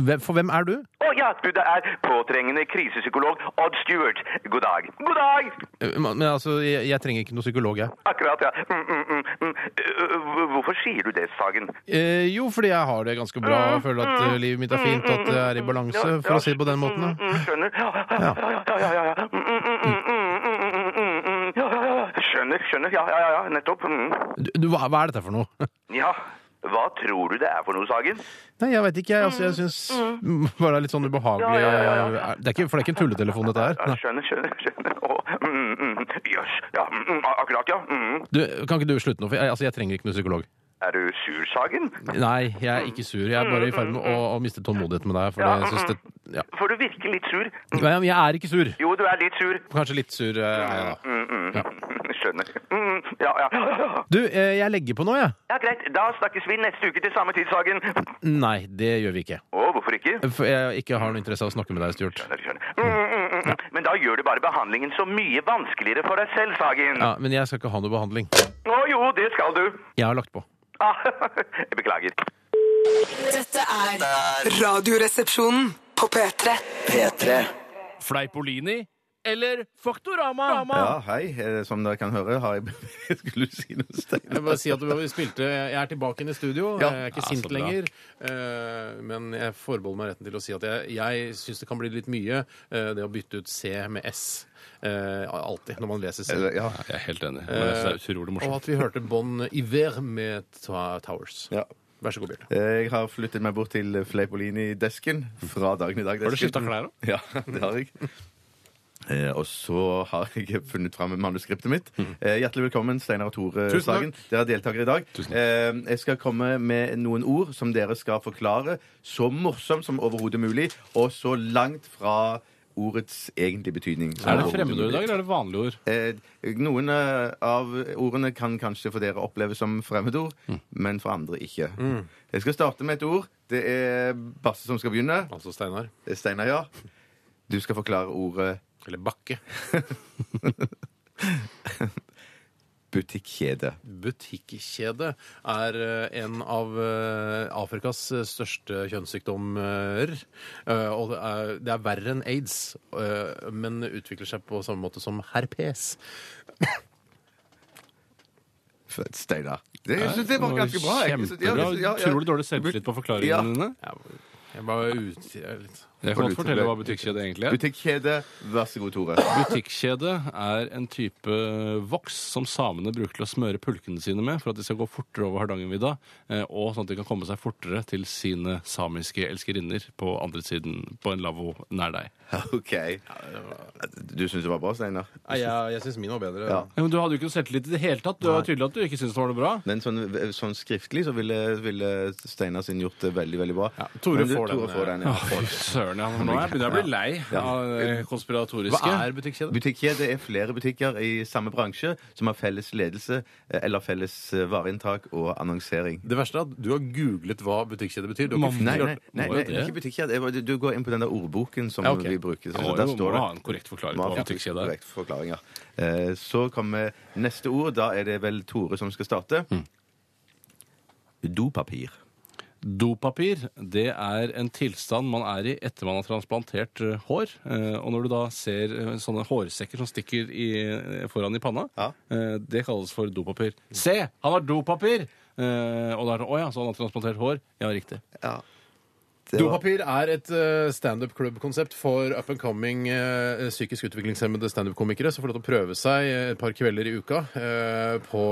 Speaker 9: Hvem- For hvem er du?
Speaker 10: Å ja, du, det er påtrengende krisepsykolog Odd Stewart. God dag. God dag!
Speaker 9: Eh, Men altså, jeg, jeg trenger ikke noen psykolog, jeg.
Speaker 10: Akkurat, ja. Mm, mm, mm, mm. Eh, Hvorfor sier du det, Sagen? Mm,
Speaker 9: Eh, jo, fordi jeg har det ganske bra og føler at eh, livet mitt er fint, og at det er i balanse, for å si det på den måten.
Speaker 10: Mm,
Speaker 9: da.
Speaker 10: mm, skjønner. Ja, ja, ja, ja, ja, ja, ja. Mm, mm, mm, mm, mm, mm, mm, mm. Ja, ja, ja. Skjønner, skjønner. Ja, ja, ja, ja, nettopp. Mm.
Speaker 9: Du, du, hva, hva er dette for noe? [LAUGHS]
Speaker 10: Ja, hva tror du det er for noe, Sagen?
Speaker 9: Nei, jeg veit ikke, jeg. Altså, jeg syns [LAUGHS] bare det er litt sånn ubehagelig
Speaker 10: Ja, ja, ja,
Speaker 9: eh, er- det er ikke, For det er ikke en tulletelefon, dette her.
Speaker 10: Ja,
Speaker 9: Nei.
Speaker 10: skjønner, skjønner, skjønner. Å, mm, mm, Jøss, ja, mm, mm, akkurat, ja. Mm.
Speaker 9: Du, kan ikke du slutte nå? For jeg, altså, jeg trenger ikke noen psykolog.
Speaker 10: Er du sur, Sagen?
Speaker 9: Nei, jeg er ikke sur. Jeg er bare i ferd med å, å miste tålmodigheten med deg. For jeg synes det, ja.
Speaker 10: For du virker litt sur.
Speaker 9: Nei, men jeg er ikke sur.
Speaker 10: Jo, du er litt sur. [LAUGHS]
Speaker 9: Kanskje litt sur. eh, er jeg da.
Speaker 10: Mm, mm, Skjønner. Mm, mm, ja, ja, ja, ja.
Speaker 9: Du, eh, jeg legger på nå, jeg.
Speaker 10: Ja, greit. Da snakkes vi neste uke til samme tidshagen. Å,
Speaker 9: Nei, det gjør vi ikke.
Speaker 10: hvorfor ikke?
Speaker 9: For jeg ikke har noe interesse av å snakke med deg, Stuart.
Speaker 10: Mm, mm, mm. Men da gjør du bare behandlingen så mye vanskeligere for deg selv, Sagen.
Speaker 9: Ja, Men jeg skal ikke ha noe behandling.
Speaker 10: Å jo, det skal du.
Speaker 9: Jeg har lagt på.
Speaker 10: Ah, [LAUGHS] jeg beklager.
Speaker 5: Dette er Radioresepsjonen på P3.
Speaker 3: P3.
Speaker 4: Fleipolini eller Faktorama?
Speaker 2: Ja, hei. Eh, Som dere kan høre, har jeg Jeg [LAUGHS] skulle si noe
Speaker 1: Jeg
Speaker 2: stein.
Speaker 1: må bare si at vi spilte Jeg er tilbake igjen i studio.
Speaker 2: Ja.
Speaker 1: Jeg er ikke
Speaker 4: Ja,
Speaker 1: sint
Speaker 4: så bra.
Speaker 1: lenger. eh, Men jeg forbeholder meg retten til å si at jeg, jeg syns det kan bli litt mye eh, det å bytte ut C med S. eh, Alltid når man leser C.
Speaker 2: Eller, ja.
Speaker 4: Jeg er helt enig. Men jeg
Speaker 9: Eh,
Speaker 4: synes det er utrolig
Speaker 1: Og
Speaker 4: morsomt.
Speaker 1: at vi hørte Bon Iver med Twa- Towers.
Speaker 2: Ja.
Speaker 1: Vær så god, Bjarte.
Speaker 2: Eh, Jeg har flyttet meg bort til Fleipolini-desken fra dagen i dag.
Speaker 4: Har du skiftet klær også?
Speaker 2: Ja, [LAUGHS] det har jeg. Eh, og så har jeg funnet fram manuskriptet mitt.
Speaker 4: Mm.
Speaker 2: Eh, hjertelig velkommen, Steinar og Tore
Speaker 1: Tusen
Speaker 2: Sagen. Dere er deltakere i dag. Eh, jeg skal komme med noen ord som dere skal forklare så morsomt som overhodet mulig, og så langt fra ordets egentlige betydning. som
Speaker 4: Er det
Speaker 2: overhodet
Speaker 4: fremmedord i dag,
Speaker 2: mulig.
Speaker 4: eller er det vanlige ord?
Speaker 2: Eh, noen eh, av ordene kan kanskje for dere oppleves som fremmedord, men for andre ikke. Jeg skal starte med et ord. Det er Basse som skal begynne.
Speaker 1: Altså Steinar.
Speaker 2: Det er Steinar, ja. Du skal forklare ordet
Speaker 1: Eller Bakke.
Speaker 2: butikkjede.
Speaker 1: Butikkjede er eh, en av eh, Afrikas eh, største kjønnssykdommer. Eh, Og det er, det er verre enn aids, eh, men utvikler seg på samme måte som herpes.
Speaker 2: Fett, Steinar. Det, jeg synes det var ganske bra. jeg. Jeg synes- ja, jeg
Speaker 4: Kjempebra.
Speaker 2: synes- ja, ja.
Speaker 4: Utrolig dårlig selvtillit på
Speaker 2: Ja.
Speaker 4: forklaringene dine.
Speaker 1: Jeg bare ut... jeg er litt-
Speaker 4: Jeg kan godt fortelle hva butikkjede egentlig er.
Speaker 2: Butikkjede, vær så god, Tore.
Speaker 4: Butikkjede er en type voks som samene bruker til å smøre pulkene sine med for at de skal gå fortere over Hardangervidda, eh, og sånn at de kan komme seg fortere til sine samiske elskerinner på andre siden, på en lavvo nær deg.
Speaker 2: [LAUGHS] OK. Du syns det var bra, Steinar?
Speaker 1: Nei, jeg, jeg syns min var bedre.
Speaker 2: Ja.
Speaker 4: Ja, men Du hadde jo ikke noe selvtillit i det hele tatt. Det var tydelig at du ikke syntes det var noe bra.
Speaker 2: Men sånn, sånn skriftlig så ville, ville Steinar sin gjort det veldig, veldig bra.
Speaker 1: Ja, Tore
Speaker 2: Men du,
Speaker 1: får den,
Speaker 2: Tore
Speaker 1: eh,
Speaker 2: får den ja.
Speaker 4: Fy Søren, ja. Nå er jeg- begynner jeg å bli lei av det konspiratoriske.
Speaker 1: Hva er butikkjede?
Speaker 2: Butikkjede er flere butikker i samme bransje som har felles ledelse eh, eller felles eh, vareinntak og annonsering.
Speaker 1: Det verste er at du har googlet hva butikkjede betyr. Du har ikke
Speaker 2: Nei, nei,
Speaker 1: klart-
Speaker 2: nei,
Speaker 4: Må
Speaker 2: nei
Speaker 4: jo det.
Speaker 2: ikke butikkjede. Jeg bare- Du går inn på den der ordboken som
Speaker 1: Ja, ok.
Speaker 2: vi bruker.
Speaker 4: må
Speaker 2: der
Speaker 4: jo-
Speaker 2: står
Speaker 4: må
Speaker 2: det.
Speaker 4: ha en korrekt forklaring
Speaker 2: Må ha
Speaker 4: på hva
Speaker 2: korrekt-
Speaker 4: butikkjede er.
Speaker 2: korrekt forklaring, ja. Eh, Så kommer neste ord. Da er det vel Tore som skal starte.
Speaker 4: Mm.
Speaker 2: Dopapir.
Speaker 4: Dopapir det er en tilstand man er i etter man har transplantert eh, hår. Eh, Og når du da ser eh, sånne hårsekker som stikker i, eh, foran i panna,
Speaker 2: Ja.
Speaker 4: eh, det kalles for dopapir. Se! Han har dopapir! Eh, Og da er det å ja, så han har transplantert hår. Ja, riktig.
Speaker 2: Ja. Det var-
Speaker 1: Dopapir er et eh, standup-klubb-konsept for up and coming eh, psykisk utviklingshemmede standup-komikere som får lov til å prøve seg eh, et par kvelder i uka eh, på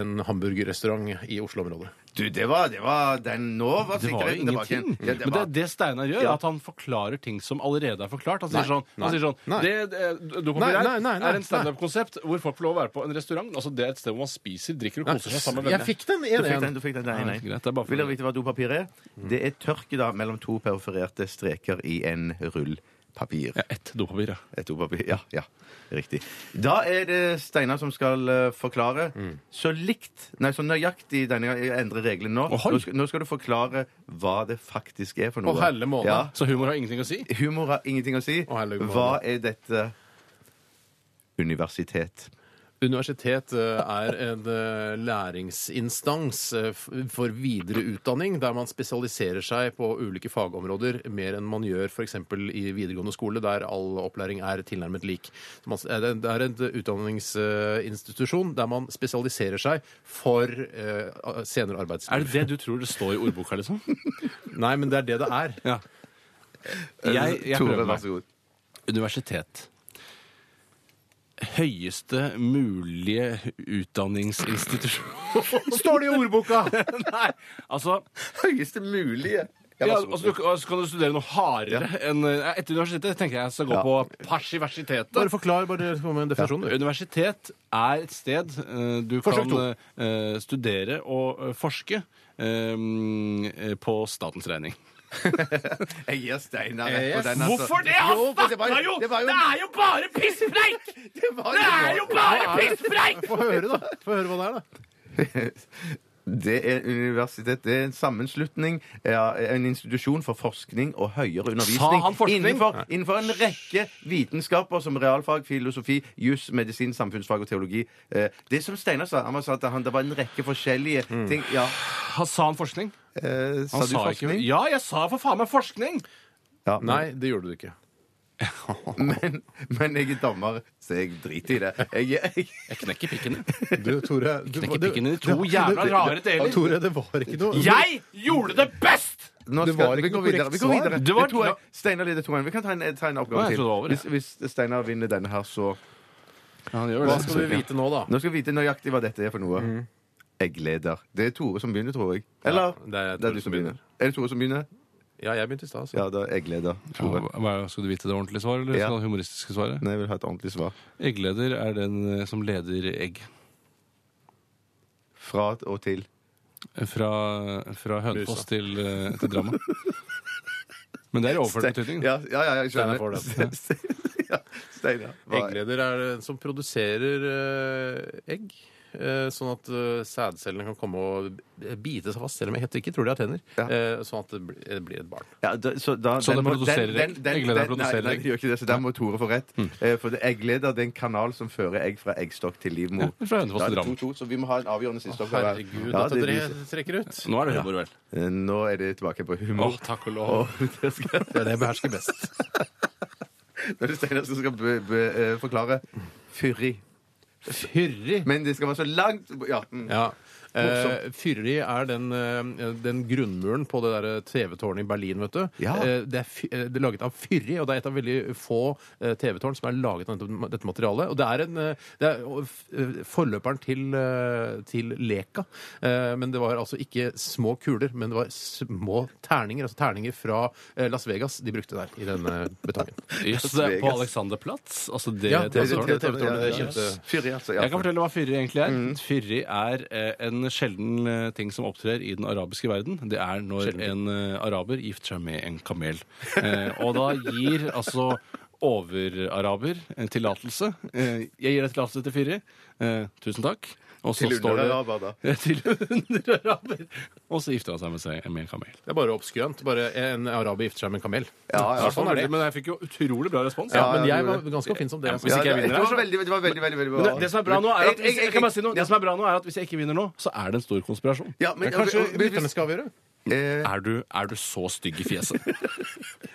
Speaker 1: en hamburgerrestaurant i Oslo-området.
Speaker 2: Du, det var, det var den Nå var
Speaker 4: Det var jo
Speaker 2: sikkerheten tilbake.
Speaker 4: ingenting.
Speaker 2: Ja, det
Speaker 4: Men det
Speaker 2: var-
Speaker 4: er det Steinar gjør,
Speaker 2: Ja.
Speaker 4: at han forklarer ting som allerede er forklart. Han sier sånn, han
Speaker 1: nei,
Speaker 4: sier sånn
Speaker 1: nei.
Speaker 4: det, eh, Dopapir
Speaker 1: Nei,
Speaker 4: er-
Speaker 1: nei, nei, nei,
Speaker 4: er en standup-konsept hvor folk får lov å være på en restaurant. Altså Det er et sted hvor man spiser, drikker og koser seg sammen med
Speaker 1: Jeg fikk den
Speaker 2: Du fikk den,
Speaker 1: 1-1.
Speaker 2: du fikk den. Nei, nei.
Speaker 4: Ja, greit, det Mm. er bare for-
Speaker 2: Vil dere vite hva dopapir er? Det er tørke da, mellom to perforerte streker i en rull papir.
Speaker 4: Ja, ett dopapir, ja.
Speaker 2: Et dopapir. Ja, ja, riktig. Da er det Steinar som skal eh, forklare.
Speaker 4: Mm.
Speaker 2: Så likt, nei, så nøyaktig denne gang, jeg endrer reglene nå.
Speaker 4: Ohoi.
Speaker 2: Nå skal, nå skal du forklare hva det faktisk er for noe.
Speaker 1: Å, helle måne.
Speaker 2: Ja.
Speaker 4: Så humor har ingenting å si?
Speaker 2: Humor har ingenting å si.
Speaker 1: Å, helle måne.
Speaker 2: Hva er dette? Universitet.
Speaker 1: Universitet eh, er en eh, læringsinstans eh, f- for videre utdanning, der man spesialiserer seg på ulike fagområder mer enn man gjør f.eks. i videregående skole, der all opplæring er tilnærmet lik. Så man s- er Det det er en utdanningsinstitusjon der man spesialiserer seg for eh, senere
Speaker 4: Er
Speaker 1: arbeidsliv.
Speaker 4: det det du tror det står i ordboka,
Speaker 2: [LAUGHS]
Speaker 4: liksom?
Speaker 1: Nei, men det er det det er.
Speaker 4: Ja. Jeg, jeg
Speaker 2: Tore,
Speaker 4: prøver
Speaker 2: vær
Speaker 4: meg.
Speaker 2: så god.
Speaker 4: Universitet. Høyeste mulige
Speaker 2: [LAUGHS]
Speaker 4: utdanningsinstitusjon
Speaker 1: Står det i ordboka!
Speaker 4: Nei, altså,
Speaker 2: Høyeste mulige. Ja,
Speaker 4: ja,
Speaker 2: vær så god.
Speaker 4: altså du, altså Kan du studere noe hardere enn eh, Etter universitetet tenker jeg jeg skal gå
Speaker 2: Ja.
Speaker 4: på persiversitetet.
Speaker 1: Bare forklar, bare kom med en definisjon. du.
Speaker 4: Universitet er et sted eh, du
Speaker 1: Forsøk
Speaker 4: kan
Speaker 1: to.
Speaker 4: eh, studere og eh, forske eh, på statens regning.
Speaker 2: Jeg gir Steinar
Speaker 1: Eh,
Speaker 2: rett på den. altså.
Speaker 6: Hvorfor det? Han
Speaker 2: Jo, for det var
Speaker 6: snakka jo!
Speaker 2: Det var jo
Speaker 6: Det er jo bare pisspreik!
Speaker 2: Det var
Speaker 6: Det er jo bare pisspreik!
Speaker 9: Få høre, da. Få høre hva det er, da.
Speaker 2: [LAUGHS] Det er universitet. Det er en sammenslutning, ja, en institusjon for forskning og høyere
Speaker 6: Sa
Speaker 2: undervisning
Speaker 6: han forskning?
Speaker 2: Innenfor, innenfor en rekke vitenskaper som realfag, filosofi, juss, medisin, samfunnsfag og teologi. Eh, Det som Steinar sa, han sa at han, det var en rekke forskjellige ting. Ja,
Speaker 4: Han sa han forskning?
Speaker 2: eh, sa
Speaker 4: Han
Speaker 2: du
Speaker 4: sa ikke-
Speaker 2: forskning?
Speaker 4: Ja, jeg sa for faen meg forskning!
Speaker 2: Ja, men,
Speaker 1: Nei, det gjorde du ikke.
Speaker 2: Men, men jeg er dommer, så jeg driter i det. Jeg, jeg,
Speaker 4: Jeg knekker pikken.
Speaker 1: Du, Tore du,
Speaker 4: Knekker
Speaker 1: du-
Speaker 4: pikken din i to jævla rare deler.
Speaker 1: Tore, det var ikke noe
Speaker 4: Jeg gjorde det best!
Speaker 2: Nå
Speaker 1: Det
Speaker 2: skal,
Speaker 1: var
Speaker 2: vi
Speaker 1: ikke
Speaker 2: går
Speaker 1: noe
Speaker 2: videre.
Speaker 1: korrekt
Speaker 2: Vi går videre.
Speaker 4: Det var-
Speaker 2: Det er 2-1. Steinar leder 2-1. Vi kan ta en, ta en
Speaker 4: Å,
Speaker 2: oppgave
Speaker 4: jeg
Speaker 2: til.
Speaker 4: trodde det var over,
Speaker 2: Hvis, hvis Steinar vinner denne her, så
Speaker 4: han gjør
Speaker 1: Hva skal du vite nå, da?
Speaker 2: Nå skal vi vite nøyaktig hva dette er for noe.
Speaker 1: Mm.
Speaker 2: Eggleder. Det er Tore som begynner, tror jeg.
Speaker 1: Ja,
Speaker 2: Eller?
Speaker 1: det er Tore
Speaker 2: du
Speaker 1: som
Speaker 2: som begynner. Er det Tore som begynner?
Speaker 1: Ja, jeg begynte i stad. altså. så-
Speaker 2: Ja, da er eggleder. Tore.
Speaker 4: Skal du vite det ordentlige svaret, eller
Speaker 2: Ja.
Speaker 4: skal det humoristiske svaret?
Speaker 2: Nei, jeg vil ha et ordentlig svar.
Speaker 4: Eggleder er den eh, som leder egg.
Speaker 2: Fra og til.
Speaker 4: Fra, fra Hønefoss til, eh, til Drammen. Men det er i overført betydning.
Speaker 2: Ja, ja, ja, jeg
Speaker 1: Steinar
Speaker 2: skjønner.
Speaker 1: får
Speaker 2: [LAUGHS]
Speaker 1: den.
Speaker 2: Ste- ja, Steinar. hva-
Speaker 1: Eggleder er den som produserer eh, egg. eh, Sånn at eh, sædcellene kan komme og bite seg fast, selv om jeg heter ikke tror de har tenner.
Speaker 2: Ja.
Speaker 1: eh, Sånn at det blir- det blir et barn.
Speaker 2: Ja, da, så da,
Speaker 4: Så
Speaker 2: den
Speaker 4: det
Speaker 2: må-
Speaker 4: produserer
Speaker 2: den-
Speaker 4: egg?
Speaker 2: den- den-
Speaker 4: Eggleder
Speaker 2: den-
Speaker 4: produserer Mm.
Speaker 2: Nei,
Speaker 4: egg?
Speaker 2: nei, det gjør ikke det, så der må Tore få rett. Eh, For det- eggleder det er en kanal som fører egg fra eggstokk til livmor.
Speaker 4: Ja, fra Hønefoss
Speaker 2: Da er
Speaker 4: til
Speaker 2: det
Speaker 4: Drammen.
Speaker 2: 2-2, så vi må ha en avgjørende siste oppgave. her.
Speaker 1: Herregud,
Speaker 2: Ja,
Speaker 1: at
Speaker 2: det
Speaker 1: dere
Speaker 2: blir-
Speaker 1: trekker ut.
Speaker 4: Nå er det humor, vel.
Speaker 2: Eh, Nå er det tilbake på humor.
Speaker 4: Å,
Speaker 2: [LAUGHS]
Speaker 4: takk og lov.
Speaker 2: Og det skal, [LAUGHS]
Speaker 1: Det er det jeg behersker best.
Speaker 2: når det Steinar som skal be, be, eh, forklare fyrig.
Speaker 1: Fyrig.
Speaker 2: Men det skal være så langt Ja. mm.
Speaker 1: Ja.
Speaker 2: Morsomt.
Speaker 1: Eh, Fyri er den, eh, den grunnmuren på det der eh, TV-tårnet i Berlin, vet du.
Speaker 2: Ja.
Speaker 1: Eh, det, er fy, eh, det er laget av Fyri, og det er et av veldig få eh, TV-tårn som er laget av dette- dette materialet. Og det er, en, eh, det er eh, f- eh, forløperen til, eh, til Leka. Eh, men det var altså ikke små kuler, men det var små terninger, altså terninger fra eh, Las Vegas de brukte der i denne
Speaker 4: [LAUGHS]
Speaker 1: betongen.
Speaker 4: Jøss, det er på Alexanderplatz. Altså det,
Speaker 1: Ja, det er
Speaker 4: det
Speaker 1: det
Speaker 4: tårnet.
Speaker 1: TV-tårnet, det
Speaker 2: Ja, ja.
Speaker 1: kjente-
Speaker 2: Fyrig, altså. Ja. Mm.
Speaker 4: Jeg kan fortelle hva fyrri egentlig er. Fyrri er eh, en sjelden eh, ting som opptrer i den arabiske verden. Det er når en eh, araber gifter seg med en kamel. Eh, og da gir altså overaraber en tillatelse. Eh, jeg gir deg tillatelse til fyrri. Eh, tusen takk. Og så
Speaker 2: Til
Speaker 4: står det-
Speaker 2: underaraber, da.
Speaker 4: [LAUGHS] Ja, Til underaraber. Og så gifter han seg med seg med en kamel.
Speaker 1: Det er bare obskønt. Bare en araber gifter seg med en kamel.
Speaker 2: Ja, ja.
Speaker 1: sånn er det.
Speaker 4: Men jeg fikk jo utrolig bra respons.
Speaker 1: Ja, men
Speaker 2: ja,
Speaker 1: jeg
Speaker 2: du
Speaker 1: var
Speaker 2: gjorde
Speaker 1: ganske oppfinnsom. Det, altså.
Speaker 4: hvis
Speaker 2: Ja,
Speaker 4: ikke jeg vinner
Speaker 2: det, var
Speaker 4: her,
Speaker 2: veldig, det var veldig, veldig, veldig bra.
Speaker 4: Men det, det som er bra nå er at
Speaker 2: Jeg-
Speaker 4: hvis,
Speaker 2: jeg-
Speaker 4: jeg kan bare si noe, det som er bra nå er at hvis jeg ikke vinner nå, så er det en stor konspirasjon.
Speaker 2: Ja, men,
Speaker 1: Kanskje
Speaker 2: og- og- hvis-
Speaker 1: lytterne skal avgjøre?
Speaker 2: eh,
Speaker 4: Er du, er du så stygg i fjeset?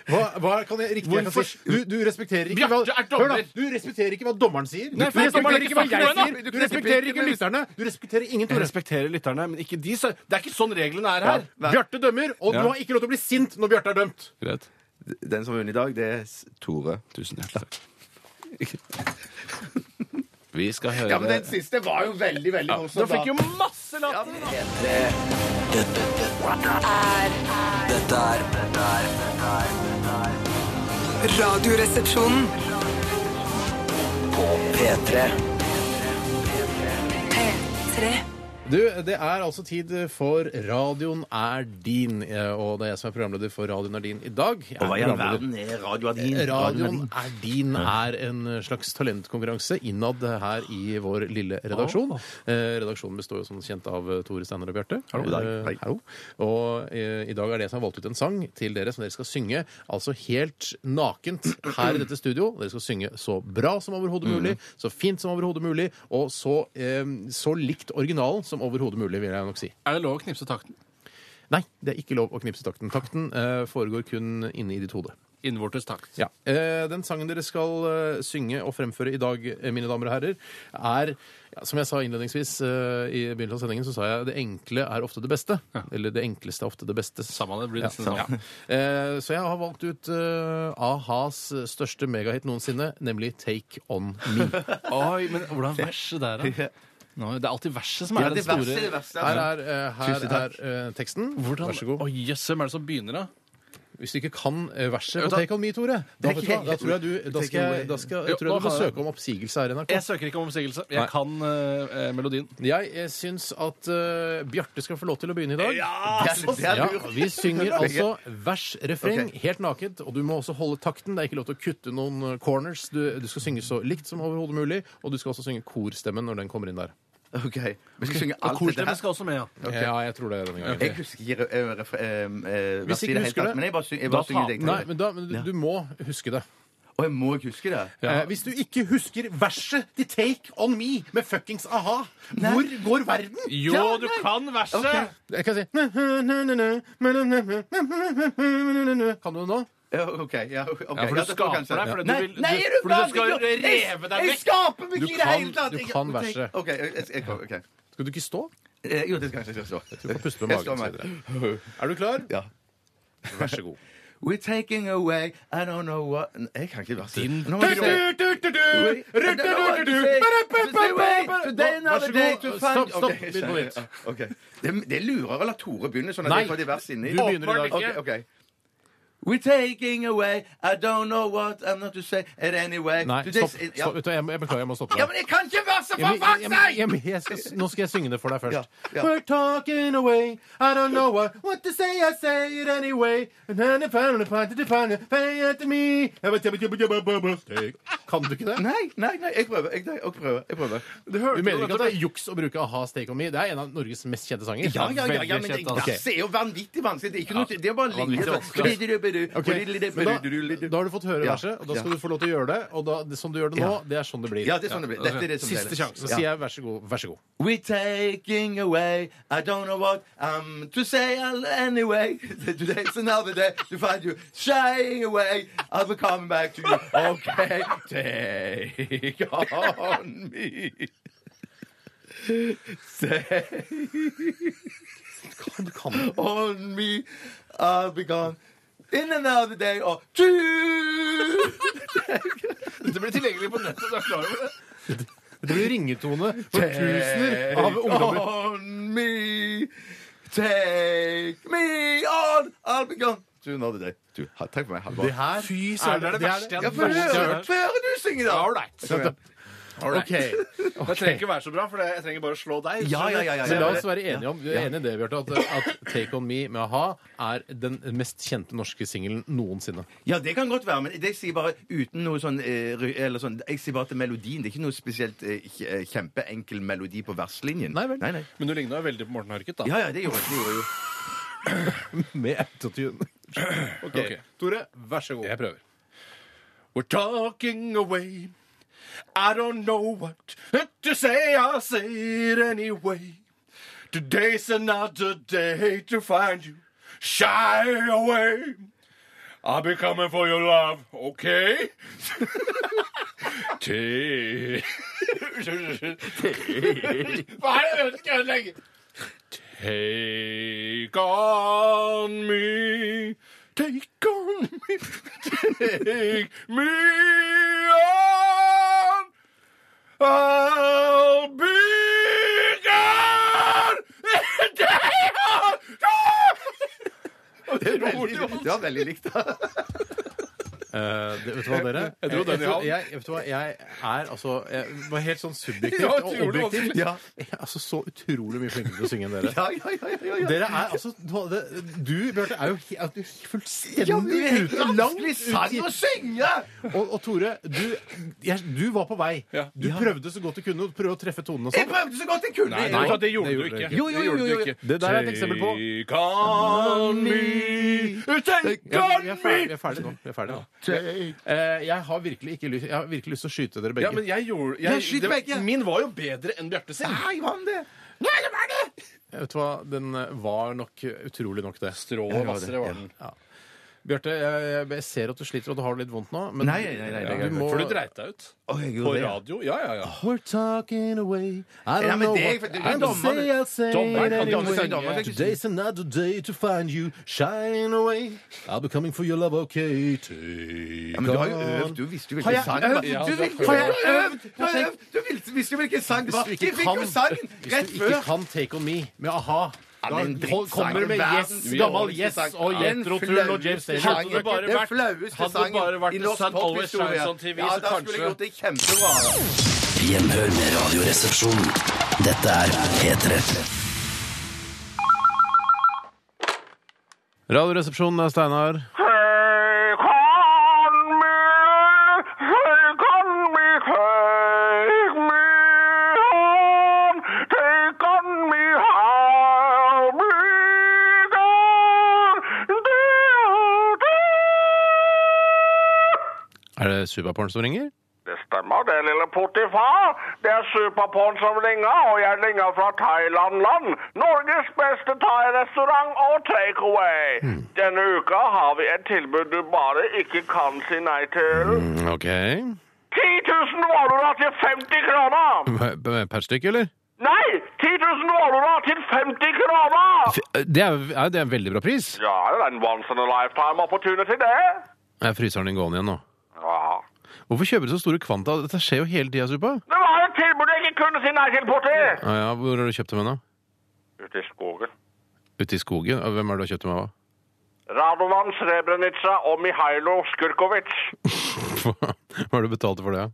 Speaker 1: Hva, hva kan jeg riktig jeg kan si? Du, du respekterer ikke hva,
Speaker 4: Bjarte er dommer!
Speaker 1: Hør da, du respekterer ikke hva dommeren sier. Du
Speaker 4: Nei, for dommeren
Speaker 1: respekterer
Speaker 4: er ikke
Speaker 1: ikke hva jeg
Speaker 4: fucking
Speaker 1: sier.
Speaker 4: dommeren, da.
Speaker 1: Du respekterer ikke lytterne. Du respekterer ingen
Speaker 4: Jeg
Speaker 1: Tore.
Speaker 4: respekterer lytterne, men ikke de. sa- Det er ikke sånn reglene er her.
Speaker 1: Bjarte dømmer, og
Speaker 4: Ja.
Speaker 1: du har ikke lov til å bli sint når Bjarte er dømt.
Speaker 4: Greit.
Speaker 2: Den som har vunnet i dag, det er s- Tore.
Speaker 4: Tusen hjertelig takk. [LAUGHS] Vi skal høre
Speaker 2: Ja, men den siste var jo veldig, veldig morsom.
Speaker 4: Nå fikk jo masse latter!
Speaker 3: Dette er Dette er dette er-
Speaker 5: Radioresepsjonen.
Speaker 3: På P3
Speaker 5: P3.
Speaker 1: Du, Det er altså tid for Radioen er din. eh, Og det er jeg som er programleder for Radioen er din i dag. Jeg er
Speaker 2: Og hva i all
Speaker 1: programleder.
Speaker 2: verden er radioen din?
Speaker 1: Radioen er din er en slags talentkonkurranse innad her i vår lille redaksjon. Eh, Redaksjonen består jo som kjent av eh, Tore Steinar og Bjarte.
Speaker 2: Hallo.
Speaker 1: Eh,
Speaker 2: Hei.
Speaker 1: Hallo. Og eh, i dag er det jeg som har valgt ut en sang til dere som dere skal synge altså helt nakent her i dette studio. Dere skal synge så bra som overhodet
Speaker 2: Mm.
Speaker 1: mulig, så fint som overhodet mulig, og så, eh, så likt originalen som overhodet mulig, vil jeg nok si.
Speaker 4: Er det lov å knipse takten?
Speaker 1: Nei, det er ikke lov å knipse takten. Takten eh, foregår kun inne i ditt hode.
Speaker 4: Innvortes takt.
Speaker 1: Ja. Eh, den sangen dere skal eh, synge og fremføre i dag, eh, mine damer og herrer, er ja, Som jeg sa innledningsvis eh, i begynnelsen av sendingen, så sa jeg det enkle er ofte det beste. Eller det enkleste er ofte det beste.
Speaker 4: Samme det blir
Speaker 1: Ja,
Speaker 4: nesten
Speaker 1: samme.
Speaker 4: sånn.
Speaker 1: Eh, så jeg har valgt ut eh, a-has største megahit noensinne, nemlig Take On Me.
Speaker 4: [LAUGHS] Oi, men hvordan er verset der,
Speaker 2: [LAUGHS]
Speaker 4: da? Nå, det er alltid verset som er
Speaker 2: Ja, det
Speaker 4: den
Speaker 2: verste,
Speaker 4: store
Speaker 2: det verste.
Speaker 1: Her er, eh, her
Speaker 2: Tusen takk.
Speaker 1: er eh, teksten.
Speaker 4: Hvordan-
Speaker 1: Vær så god.
Speaker 4: Oi, jøss, hvem er det som begynner, da?
Speaker 1: Hvis du ikke kan eh, verset
Speaker 9: Ja,
Speaker 1: på
Speaker 9: da-
Speaker 1: Take On Me, Tore, da, vet du hva, da tror jeg du da skal, jeg- da skal, jeg tror jeg du må søke om oppsigelse her i NRK.
Speaker 4: Jeg søker ikke om oppsigelse. Jeg
Speaker 1: Nei.
Speaker 4: kan eh, eh, melodien.
Speaker 1: Jeg, jeg syns at eh, Bjarte skal få lov til å begynne i dag.
Speaker 4: Ja,
Speaker 1: Ja,
Speaker 4: det er lurt.
Speaker 1: vi
Speaker 4: [LAUGHS]
Speaker 1: synger altså vers, refreng,
Speaker 4: Ok.
Speaker 1: helt naket. Og du må også holde takten. Det er ikke lov til å kutte noen eh, corners. Du, du skal synge så likt som overhodet mulig, og du skal også synge korstemmen når den kommer inn der.
Speaker 2: OK. Vi skal synge
Speaker 4: Og
Speaker 2: alt det
Speaker 4: korstemmen
Speaker 2: der.
Speaker 4: skal også med, ja.
Speaker 2: Ok.
Speaker 1: Ja, jeg tror det er denne gangen.
Speaker 2: Jeg husker ikke eh, refre- eh, eh,
Speaker 1: Hvis ikke
Speaker 2: verset i det
Speaker 1: du
Speaker 2: hele
Speaker 1: husker
Speaker 2: tatt,
Speaker 1: det,
Speaker 2: men jeg bare syng- jeg
Speaker 1: da
Speaker 2: bare synger
Speaker 1: taper
Speaker 2: deg.
Speaker 1: du. Nei, men da, men du, du må huske det.
Speaker 2: Å, jeg må huske det?
Speaker 1: Eh, hvis du ikke husker verset til Take On Me med fuckings a-ha, hvor går verden?
Speaker 4: Jo, du kan verset!
Speaker 1: Jeg kan si Kan du det nå?
Speaker 2: Ja, OK. Ja, ok.
Speaker 4: Ja,
Speaker 2: Ja, det
Speaker 4: for du
Speaker 2: får
Speaker 4: skaper
Speaker 2: kanskje.
Speaker 4: deg, for du
Speaker 2: Nei,
Speaker 4: vil- du-
Speaker 2: nei, er du
Speaker 4: for du
Speaker 2: gal?
Speaker 4: skal jo
Speaker 2: Jeg-
Speaker 4: reve deg
Speaker 2: Jeg
Speaker 4: vekk.
Speaker 2: skaper meg
Speaker 1: Du
Speaker 2: ikke i det
Speaker 1: kan-
Speaker 2: hele tatt!
Speaker 1: du
Speaker 2: Jeg-
Speaker 1: kan
Speaker 2: OK,
Speaker 1: verset.
Speaker 2: OK. jeg- jeg- jeg- ok.
Speaker 1: Skal du ikke stå?
Speaker 2: Eh, Jo, det skal jeg kanskje stå.
Speaker 1: Du får puste
Speaker 2: Jeg
Speaker 1: med
Speaker 2: står
Speaker 1: magen.
Speaker 2: med.
Speaker 1: Cedric. Er du klar?
Speaker 2: Ja.
Speaker 1: Vær så god.
Speaker 2: We're taking away I don't know what Jeg kan ikke verset.
Speaker 4: Din-
Speaker 2: Nå må jeg se.
Speaker 1: Stopp, stopp. Begynn på nytt.
Speaker 2: Det lurer vel at Tore begynner sånn at
Speaker 1: Nei,
Speaker 2: jeg får de vers inni.
Speaker 1: du begynner i dag.
Speaker 2: Ok, ok. We're taking away I don't know what I'm not to say it anyway
Speaker 1: Nei,
Speaker 2: To
Speaker 1: stopp.
Speaker 2: this-
Speaker 1: stopp.
Speaker 2: Ja.
Speaker 1: Vet du, jeg, jeg beklager, jeg må stoppe
Speaker 2: Ja,
Speaker 1: deg.
Speaker 2: men jeg kan ikke verset,
Speaker 1: Ja,
Speaker 2: for
Speaker 1: men-
Speaker 2: fuck's
Speaker 1: ja, men-
Speaker 2: sake!
Speaker 1: ja, men jeg skal- Nå skal jeg synge det for deg først.
Speaker 2: Ja, ja.
Speaker 1: We're talking away, I don't know what, what to say, I say it anyway. Then if I'm gonna find it, if I'm gonna pay it to me. Kan du ikke det?
Speaker 2: Nei, nei, nei, jeg prøver. Jeg, jeg prøver. Jeg prøver.
Speaker 1: Du mener ikke at det er juks å bruke a-ha Stake On Me? Det er en av Norges mest kjente sanger.
Speaker 2: Ja, ja, ja, ja, men
Speaker 4: Veldig
Speaker 2: det
Speaker 4: kjent, altså.
Speaker 2: vers er jo vanvittig vanskelig. Det er, ikke noe, det er sånn bare
Speaker 4: Vanvittig
Speaker 2: linjer.
Speaker 4: vanskelig.
Speaker 1: Ok, Men da, da har du fått høre
Speaker 2: Ja,
Speaker 1: verset, og da
Speaker 2: ja.
Speaker 1: skal du få lov til å gjøre det. Og da, det, som du gjør det nå,
Speaker 2: Ja.
Speaker 1: det er sånn det blir.
Speaker 2: Ja, det er sånn det blir. Dette er det som
Speaker 1: Siste
Speaker 2: gjelder.
Speaker 1: sjanse. Så
Speaker 2: Ja.
Speaker 1: sier jeg vær så god. Vær så god.
Speaker 2: We're taking away I don't know what um, to say I'll- anyway [LAUGHS] Today's another day to find you shying away I'll be coming back to you
Speaker 4: [LAUGHS]
Speaker 2: Okay, take on me Take on me I'll be gone In another day or two
Speaker 4: Det blir tilgjengelig på nettet. Du er klar over det?
Speaker 1: Det blir ringetone for tusener av ungdommer.
Speaker 2: on me. Take me on. I'll be gone. To another day. Du, ha- takk for meg. Ha det bra.
Speaker 1: Det her Fy
Speaker 4: søren, det er det verste jeg
Speaker 2: Ja, få høre få høre du synge, da.
Speaker 1: OK.
Speaker 4: Det trenger ikke være så bra, for jeg trenger bare å slå deg.
Speaker 2: Ja, ja, ja, ja,
Speaker 1: Men la
Speaker 2: ja.
Speaker 1: oss være enige om vi er enige i det, Bjarte, at, at Take On Me med a-ha er den mest kjente norske singelen noensinne.
Speaker 2: Ja, det kan godt være, men det jeg sier bare uten noe sånn, eh, ry- eller sånn Jeg sier bare til melodien. Det er ikke noe spesielt eh, kj- eh, kjempeenkel melodi på verslinjen.
Speaker 1: Nei vel.
Speaker 2: Nei, nei.
Speaker 4: Men du ligna veldig på Morten Harket, da.
Speaker 2: Ja, ja, det gjorde jeg. Det gjorde jeg jo.
Speaker 1: Med autotune. OK. Tore, vær så god.
Speaker 4: Jeg prøver. We're talking away. I don't know what to say. I'll say it anyway. Today's another day to find you. Shy away. I'll be coming for your love, okay? Take Hva er det du skal ødelegge? Take on me. Take on me. Take me on. I'll be gone. [LAUGHS]
Speaker 2: [LAUGHS] Det var veldig likt.
Speaker 1: Eh, det, vet du hva, dere?
Speaker 4: Jeg dro den i havn.
Speaker 1: jeg, vet du hva, jeg er altså Jeg var helt sånn subjektiv
Speaker 4: Ja,
Speaker 1: og
Speaker 4: utrolig
Speaker 1: objektiv.
Speaker 4: vanskelig.
Speaker 1: Ja. Jeg er altså så utrolig mye flinkere til å synge enn dere.
Speaker 2: Ja, ja, ja, ja, ja.
Speaker 1: Dere er altså Du, du, Bjarte, er jo he- er du fullstendig
Speaker 2: Ja, men det er
Speaker 1: ute.
Speaker 2: helt
Speaker 1: Langt
Speaker 2: vanskelig
Speaker 1: ute
Speaker 2: sang
Speaker 1: i
Speaker 2: å synge!
Speaker 1: og, og Tore, du, jeg, du var på vei.
Speaker 4: Ja.
Speaker 1: Du prøvde så godt du kunne å prøve å treffe tonene og
Speaker 2: Jeg
Speaker 1: sånn.
Speaker 2: prøvde så godt jeg kunne.
Speaker 4: Nei,
Speaker 1: nei,
Speaker 4: det gjorde
Speaker 1: det
Speaker 4: du
Speaker 1: gjorde du
Speaker 4: ikke.
Speaker 1: ikke.
Speaker 2: Jo, jo, jo, jo, jo.
Speaker 4: Det gjorde du ikke.
Speaker 1: Det der er et eksempel på-
Speaker 4: Take on me, take
Speaker 1: Ja,
Speaker 4: on
Speaker 1: vi, er ferdig, vi
Speaker 4: me.
Speaker 1: er ferdig nå. Vi er ferdig nå. Eh, jeg har virkelig ikke lyst Jeg har virkelig lyst til å skyte dere begge.
Speaker 4: Ja, men jeg gjorde
Speaker 2: Ja, skyt
Speaker 4: det var-
Speaker 2: begge.
Speaker 4: Min var jo bedre enn Bjarte sin.
Speaker 2: Nei, hva om det? Nei, det var det!
Speaker 1: Vet du hva, Den eh, var nok utrolig nok det.
Speaker 4: Strå og vassere var den.
Speaker 1: Bjarte, jeg, jeg ser at du sliter og du har det litt vondt nå, men
Speaker 2: Nei, nei, nei, nei, nei,
Speaker 1: du må
Speaker 4: For du dreit deg ut.
Speaker 2: Å, jeg
Speaker 4: På
Speaker 2: gjorde det.
Speaker 4: radio. Ja, ja, ja.
Speaker 1: We're talking away. I
Speaker 2: Ja,
Speaker 1: don't
Speaker 2: men
Speaker 1: know
Speaker 2: det er-
Speaker 1: what
Speaker 2: for det er
Speaker 1: I don't
Speaker 2: dommeren.
Speaker 1: say I'll say
Speaker 4: Dommeren
Speaker 1: it
Speaker 4: kan ikke
Speaker 1: anyway.
Speaker 4: synge. Dommeren kan
Speaker 2: ikke
Speaker 1: Today's another day to find you. Shine away. I'll be coming for your love, okay? Take
Speaker 2: Ja, men du har jo
Speaker 1: on.
Speaker 2: øvd. Du visste jo hvilken sang
Speaker 1: øvd?
Speaker 2: det var.
Speaker 4: Ja,
Speaker 2: Du
Speaker 4: du har
Speaker 2: visste-
Speaker 4: prøvd.
Speaker 2: Har jeg øvd? Du har øvd! Du visste- visste jo hvilken sang det
Speaker 1: Hvis
Speaker 2: var.
Speaker 1: du
Speaker 2: Vi
Speaker 1: ikke
Speaker 2: fikk jo
Speaker 1: kan,
Speaker 2: sangen
Speaker 1: hvis
Speaker 2: rett
Speaker 1: du ikke
Speaker 2: før.
Speaker 1: kan Take On Me med a-ha Da kom- kommer du med yes, gammel yes og Jethro-tull og James Taylor.
Speaker 2: Hadde det bare vært,
Speaker 4: hadde det bare vært The Sun Always Shines on TV,
Speaker 2: ja,
Speaker 4: så
Speaker 2: da skulle jeg
Speaker 4: kanskje
Speaker 2: gjort det kjempebra.
Speaker 3: Gjenhør med Radioresepsjonen. Dette er P3.
Speaker 11: Radioresepsjonen
Speaker 1: eh,
Speaker 11: det er Steinar. Er det Superporn som ringer?
Speaker 7: Det stemmer, det, lille Potifar. Det er Superporn som ringer, og jeg ringer fra Thailand-land. Norges beste thai-restaurant og takeaway. Denne uka har vi et tilbud du bare ikke kan si nei til.
Speaker 1: Hmm.
Speaker 11: Mm, OK.
Speaker 7: 10 000 valuer til 50 kroner!
Speaker 11: P- p- Per stykke, eller?
Speaker 7: Nei! 10 000 valuer til 50 kroner!
Speaker 11: Det er, er det er en veldig bra pris.
Speaker 7: Ja, det er en once in a lifetime opportunity, det.
Speaker 11: Er fryseren din gående igjen nå?
Speaker 7: Ja.
Speaker 11: Hvorfor kjøper du så store kvanta? Dette skjer jo hele tida, Supa.
Speaker 7: Det var et tilbud jeg ikke kunne si nei til, Potti!
Speaker 11: Ah, ja, hvor har du kjøpt dem hen, da?
Speaker 7: Ute i skogen.
Speaker 11: Ute i skogen? Ah, Hvem er det du har kjøpt dem av? [LAUGHS]
Speaker 7: Radovan Srebrenica og Mihailo Skurkovic.
Speaker 11: Hva hva har du betalt for det?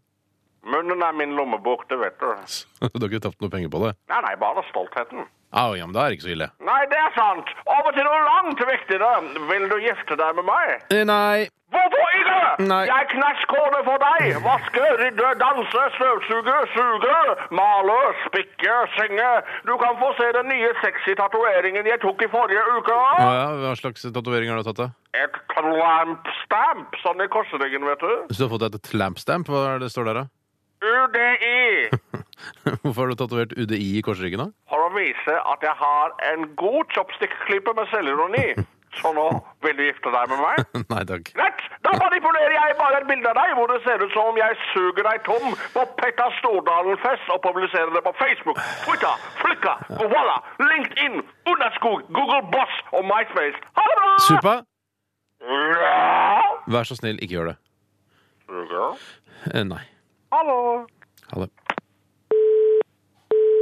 Speaker 11: [LAUGHS]
Speaker 7: Munnen er min lommebok, det vet du.
Speaker 11: Du har ikke tapt noe penger på det?
Speaker 7: Nei, nei, bare stoltheten.
Speaker 11: Ah, ja, men da er det ikke så ille.
Speaker 7: Nei, det er sant. Over til noe langt viktigere. Vil du gifte deg med meg?
Speaker 11: Eh, Nei.
Speaker 7: Hvorfor ikke?
Speaker 11: Nei.
Speaker 7: Jeg knæsj kone for deg. Vaske, rydde, danse, støvsuge, suge, male, spikke, synge. Du kan få se den nye sexy tatoveringen jeg tok i forrige uke.
Speaker 11: Ah, ja, hva slags tatovering har du tatt, da?
Speaker 7: Et clamp stamp, sånn i korsryggen, vet du.
Speaker 11: Så du har fått deg et clamp stamp? Hva er det det står der, da? [LAUGHS]
Speaker 7: UDI.
Speaker 11: Hvorfor har du tatovert UDI i korsryggen, da? [LAUGHS]
Speaker 7: for å vise at jeg har en god chopstick-klype med selvironi. Så nå vil du gifte deg med meg?
Speaker 11: Nei takk.
Speaker 7: Greit, da manipulerer jeg bare et bilde av deg hvor det ser ut som om jeg suger deg tom på Petter Stordalen-fest og publiserer det på Facebook, Twitter, Flikka, Voila, LinkedIn, Underskog, Google Boss og MySpace. Ha det bra!
Speaker 11: Supa,
Speaker 7: Ja.
Speaker 11: vær så snill, ikke gjør det. Eh, Nei.
Speaker 7: Hallo.
Speaker 11: Ha det.